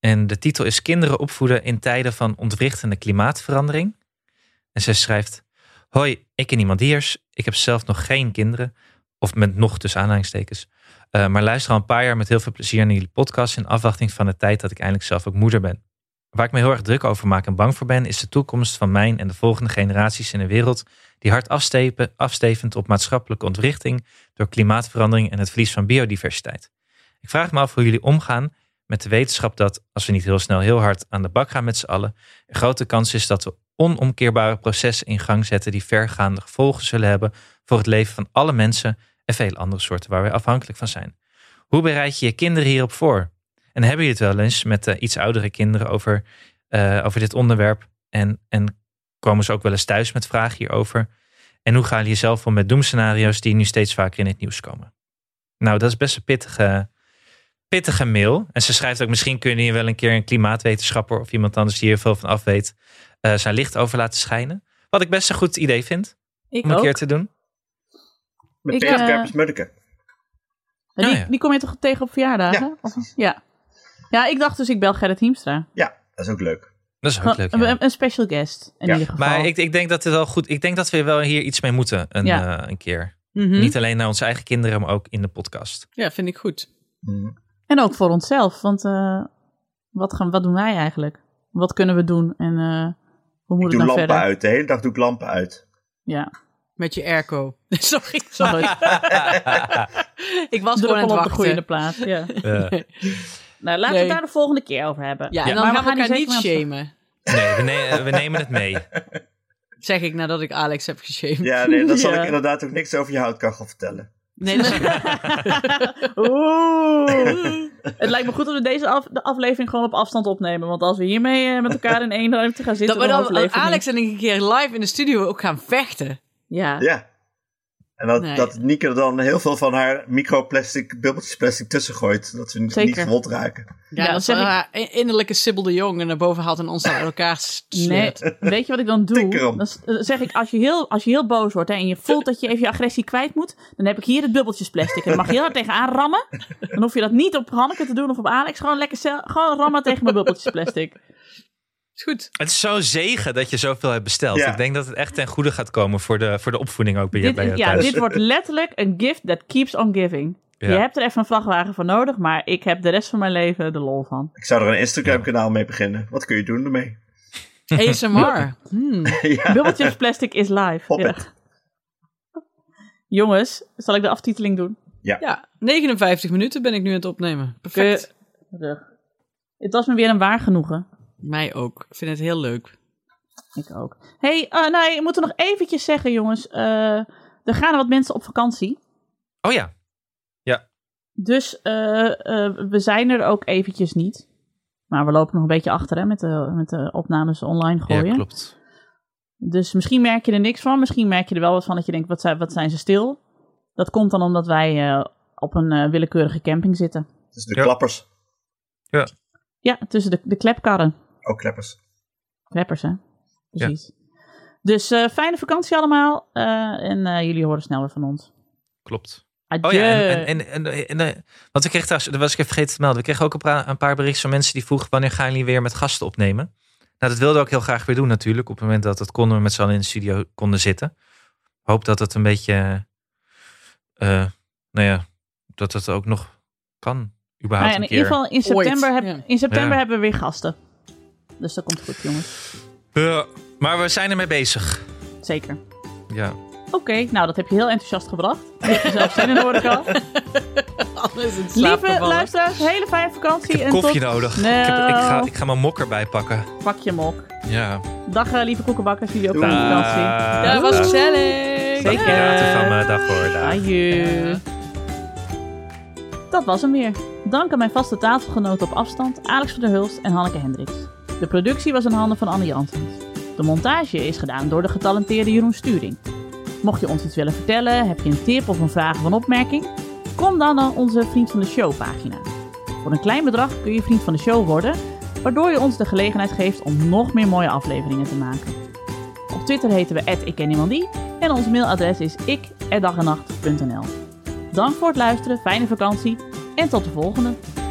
[SPEAKER 4] En de titel is Kinderen opvoeden in tijden van ontwrichtende klimaatverandering. En zij schrijft: Hoi, ik en iemand diers. Ik heb zelf nog geen kinderen. Of met nog tussen aanhalingstekens. Eh, maar luister al een paar jaar met heel veel plezier naar jullie podcast. In afwachting van de tijd dat ik eindelijk zelf ook moeder ben. Waar ik me heel erg druk over maak en bang voor ben, is de toekomst van mijn en de volgende generaties in een wereld die hard afstepen, afstevend op maatschappelijke ontwrichting door klimaatverandering en het verlies van biodiversiteit. Ik vraag me af hoe jullie omgaan met de wetenschap dat, als we niet heel snel heel hard aan de bak gaan met z'n allen, er grote kans is dat we onomkeerbare processen in gang zetten die vergaande gevolgen zullen hebben voor het leven van alle mensen en vele andere soorten waar wij afhankelijk van zijn. Hoe bereid je je kinderen hierop voor? En hebben jullie het wel eens met eh, iets oudere kinderen over, eh, over dit onderwerp? En, en komen ze ook wel eens thuis met vragen hierover? En hoe gaan jullie zelf om met doemscenario's die nu steeds vaker in het nieuws komen? Nou, dat is best een pittige, pittige mail. En ze schrijft ook, misschien kunnen hier wel een keer een klimaatwetenschapper of iemand anders die hier veel van af weet, eh, zijn licht over laten schijnen. Wat ik best een goed idee vind
[SPEAKER 3] Ik
[SPEAKER 4] om een
[SPEAKER 3] ook.
[SPEAKER 4] keer te doen.
[SPEAKER 2] Met
[SPEAKER 3] Ik,
[SPEAKER 2] Peter
[SPEAKER 3] eh,
[SPEAKER 2] Kuipers Muddeke.
[SPEAKER 3] Die,
[SPEAKER 4] Nou Ja, ja.
[SPEAKER 3] die kom je toch tegen op verjaardagen?
[SPEAKER 2] Ja,
[SPEAKER 3] Of- ja. Ja, ik dacht dus ik bel Gerrit Hiemstra.
[SPEAKER 2] Ja, dat is ook leuk.
[SPEAKER 4] Dat is ook leuk. ja.
[SPEAKER 3] Gewoon Een, een special guest in
[SPEAKER 2] Ja.
[SPEAKER 3] ieder geval.
[SPEAKER 4] Maar ik, ik denk dat dit wel goed. Ik denk dat we wel hier iets mee moeten een,
[SPEAKER 3] Ja. Hm?
[SPEAKER 4] eh, een keer.
[SPEAKER 1] Mhm.
[SPEAKER 4] Niet alleen naar onze eigen kinderen, maar ook in de podcast.
[SPEAKER 1] Ja, vind ik goed.
[SPEAKER 2] Hm.
[SPEAKER 3] En ook voor onszelf, want eh, wat, gaan, wat doen wij eigenlijk? Wat kunnen we doen en eh, hoe
[SPEAKER 2] Ik
[SPEAKER 3] moet
[SPEAKER 2] doe
[SPEAKER 3] het nou
[SPEAKER 2] lampen
[SPEAKER 3] verder?
[SPEAKER 2] uit. De hele dag doe ik lampen uit.
[SPEAKER 3] Ja.
[SPEAKER 1] Met je airco. Sorry,
[SPEAKER 3] Nog
[SPEAKER 1] sorry.
[SPEAKER 3] nooit.
[SPEAKER 1] ik was gewoon
[SPEAKER 3] Druppel
[SPEAKER 1] aan het
[SPEAKER 3] op de
[SPEAKER 1] wachten.
[SPEAKER 3] groeiende plaat. Ja.
[SPEAKER 4] Eh,
[SPEAKER 3] Nou, laten we
[SPEAKER 1] Nee.
[SPEAKER 3] het daar de volgende keer over hebben.
[SPEAKER 1] Ja, en
[SPEAKER 4] Ja.
[SPEAKER 1] dan
[SPEAKER 3] Maar we
[SPEAKER 1] gaan we
[SPEAKER 3] gaan
[SPEAKER 1] elkaar
[SPEAKER 3] die
[SPEAKER 1] niet
[SPEAKER 3] zeker aan-
[SPEAKER 1] shamen.
[SPEAKER 4] nee, we, ne- eh, we nemen het mee.
[SPEAKER 1] Zeg ik nadat ik Alex heb geshamed.
[SPEAKER 2] Ja, nee, dan zal
[SPEAKER 3] Ja.
[SPEAKER 2] ik inderdaad ook niks over je houtkachel vertellen.
[SPEAKER 1] Nee, dat is-
[SPEAKER 3] Oeh. Het lijkt me goed dat we deze af- de aflevering gewoon op afstand opnemen. Want als we hiermee eh, met elkaar in één ruimte gaan
[SPEAKER 1] dat
[SPEAKER 3] zitten,
[SPEAKER 1] we
[SPEAKER 3] dan,
[SPEAKER 1] dan
[SPEAKER 3] overleven we
[SPEAKER 1] Alex
[SPEAKER 3] niet.
[SPEAKER 1] en ik een keer live in de studio ook gaan vechten.
[SPEAKER 3] Ja.
[SPEAKER 2] Ja. En dat,
[SPEAKER 1] Nee.
[SPEAKER 2] dat Nieke er dan heel veel van haar microplastic, bubbeltjes plastic tussen gooit. Dat ze niet- niet
[SPEAKER 3] Zeker.
[SPEAKER 2] gewond raken.
[SPEAKER 1] Ja,
[SPEAKER 3] Ja,
[SPEAKER 1] dat
[SPEAKER 3] zeg
[SPEAKER 1] zeg
[SPEAKER 3] ik-
[SPEAKER 1] innerlijke Sibyl de Jong en naar boven haalt en ons dan uit elkaar
[SPEAKER 3] Nee,
[SPEAKER 1] sleurt.
[SPEAKER 3] weet je wat ik dan doe?
[SPEAKER 2] Tikker om.
[SPEAKER 3] Dan s- eh, zeg ik, als je, heel, als je heel boos wordt hè, en je voelt dat je even je agressie kwijt moet, dan heb ik hier het bubbeltjesplastic. En dan mag je heel hard tegenaan rammen. Dan hoef je dat niet op Hanneke te doen of op Alex. Gewoon lekker zel- gewoon rammen tegen mijn bubbeltjesplastic.
[SPEAKER 1] Is goed.
[SPEAKER 4] Het is zo'n zegen dat je zoveel hebt besteld.
[SPEAKER 2] Ja.
[SPEAKER 4] Ik denk dat het echt ten goede gaat komen voor de, voor de opvoeding ook bij je,
[SPEAKER 3] Dit,
[SPEAKER 4] bij je
[SPEAKER 3] is- ja,
[SPEAKER 4] thuis.
[SPEAKER 3] dit wordt letterlijk een gift that keeps on giving.
[SPEAKER 4] Ja.
[SPEAKER 3] Je hebt er even een vrachtwagen voor nodig, maar ik heb de rest van mijn leven de lol van.
[SPEAKER 2] Ik zou er een Instagram kanaal mee beginnen. Wat kun je doen ermee?
[SPEAKER 1] ASMR. Hmm.
[SPEAKER 2] ja.
[SPEAKER 3] Bubbeltjesplastic is live.
[SPEAKER 2] Pop
[SPEAKER 3] Ja. Jongens, zal ik de aftiteling doen?
[SPEAKER 1] Ja, 59 minuten ben ik nu aan het opnemen. Perfect.
[SPEAKER 3] Keurig. Het was me weer een waar genoegen.
[SPEAKER 1] Mij ook. Ik vind het heel leuk.
[SPEAKER 3] Ik ook. hey, eh, nee, we moeten nog eventjes zeggen, jongens. eh, er gaan wat mensen op vakantie.
[SPEAKER 4] Oh ja,
[SPEAKER 3] Dus eh, eh, we zijn er ook eventjes niet. Maar we lopen nog een beetje achter hè, met, de, met de opnames online
[SPEAKER 4] ja
[SPEAKER 3] gooien.
[SPEAKER 4] klopt.
[SPEAKER 3] Dus misschien merk je er niks van. Misschien merk je er wel wat van dat je denkt, wat zijn, wat zijn ze stil? Dat komt dan omdat wij eh, op een eh, willekeurige camping zitten.
[SPEAKER 2] Dus de
[SPEAKER 4] Ja.
[SPEAKER 2] klappers.
[SPEAKER 3] Ja, tussen de, de klepkarren.
[SPEAKER 2] Ook Oh, klappers.
[SPEAKER 3] Kleppers, hè? Precies. Dus eh, fijne vakantie allemaal. eh, en eh, jullie horen snel weer van ons.
[SPEAKER 4] Klopt.
[SPEAKER 3] Adieu.
[SPEAKER 4] Oh ja, en, en, en, en, en, eh, want we kregen trouwens, dat was ik even vergeten te melden. We kregen ook een, pra- een paar berichten van mensen die vroegen wanneer gaan jullie weer met gasten opnemen. Nou, dat wilden we ook heel graag weer doen natuurlijk. Op het moment dat dat konden we met z'n allen in de studio konden zitten. Hoop dat het een beetje, eh, nou ja, dat het ook nog kan. Überhaupt
[SPEAKER 3] Nou ja, in
[SPEAKER 4] een
[SPEAKER 3] ieder
[SPEAKER 4] keer.
[SPEAKER 3] geval in september, heb-
[SPEAKER 1] Ja.
[SPEAKER 3] in september
[SPEAKER 4] Ja.
[SPEAKER 3] hebben we weer gasten. Dus dat komt goed, jongens.
[SPEAKER 4] Ja, maar we zijn ermee bezig.
[SPEAKER 3] Zeker.
[SPEAKER 4] Ja.
[SPEAKER 3] Oké, nou dat heb je heel enthousiast gebracht. Je hebt er zelf zin in, hoor ik al.
[SPEAKER 1] Alles in slaap
[SPEAKER 3] Lieve
[SPEAKER 1] gevallen.
[SPEAKER 3] luisteraars, hele fijne
[SPEAKER 4] Ik
[SPEAKER 3] vakantie.
[SPEAKER 4] heb
[SPEAKER 3] en
[SPEAKER 4] koffie
[SPEAKER 3] tot...
[SPEAKER 4] nodig.
[SPEAKER 3] Nou.
[SPEAKER 4] Ik, heb, ik, ga, ik ga mijn mok erbij pakken.
[SPEAKER 3] Pak je mok.
[SPEAKER 4] Ja.
[SPEAKER 3] Dag eh, lieve koekenbakkers, jullie ook op
[SPEAKER 2] Doei.
[SPEAKER 3] vakantie.
[SPEAKER 4] Ah.
[SPEAKER 1] Dat was gezellig.
[SPEAKER 4] Dag piraten van me. Dag hoor. Dag.
[SPEAKER 3] Adieu. Dat was hem weer. Dank aan mijn vaste tafelgenoten op afstand, Alex van der Hulst en Hanneke Hendricks. De productie was in handen van Anne Janssens. De montage is gedaan door de getalenteerde Jeroen Sturing. Mocht je ons iets willen vertellen, heb je een tip of een vraag of een opmerking? Kom dan naar onze Vriend van de Show pagina. Voor een klein bedrag kun je Vriend van de Show worden, waardoor je ons de gelegenheid geeft om nog meer mooie afleveringen te maken. Op Twitter heten we @ikkenniemandie en ons mailadres is ik@dagennacht.nl. Dank voor het luisteren, fijne vakantie en tot de volgende.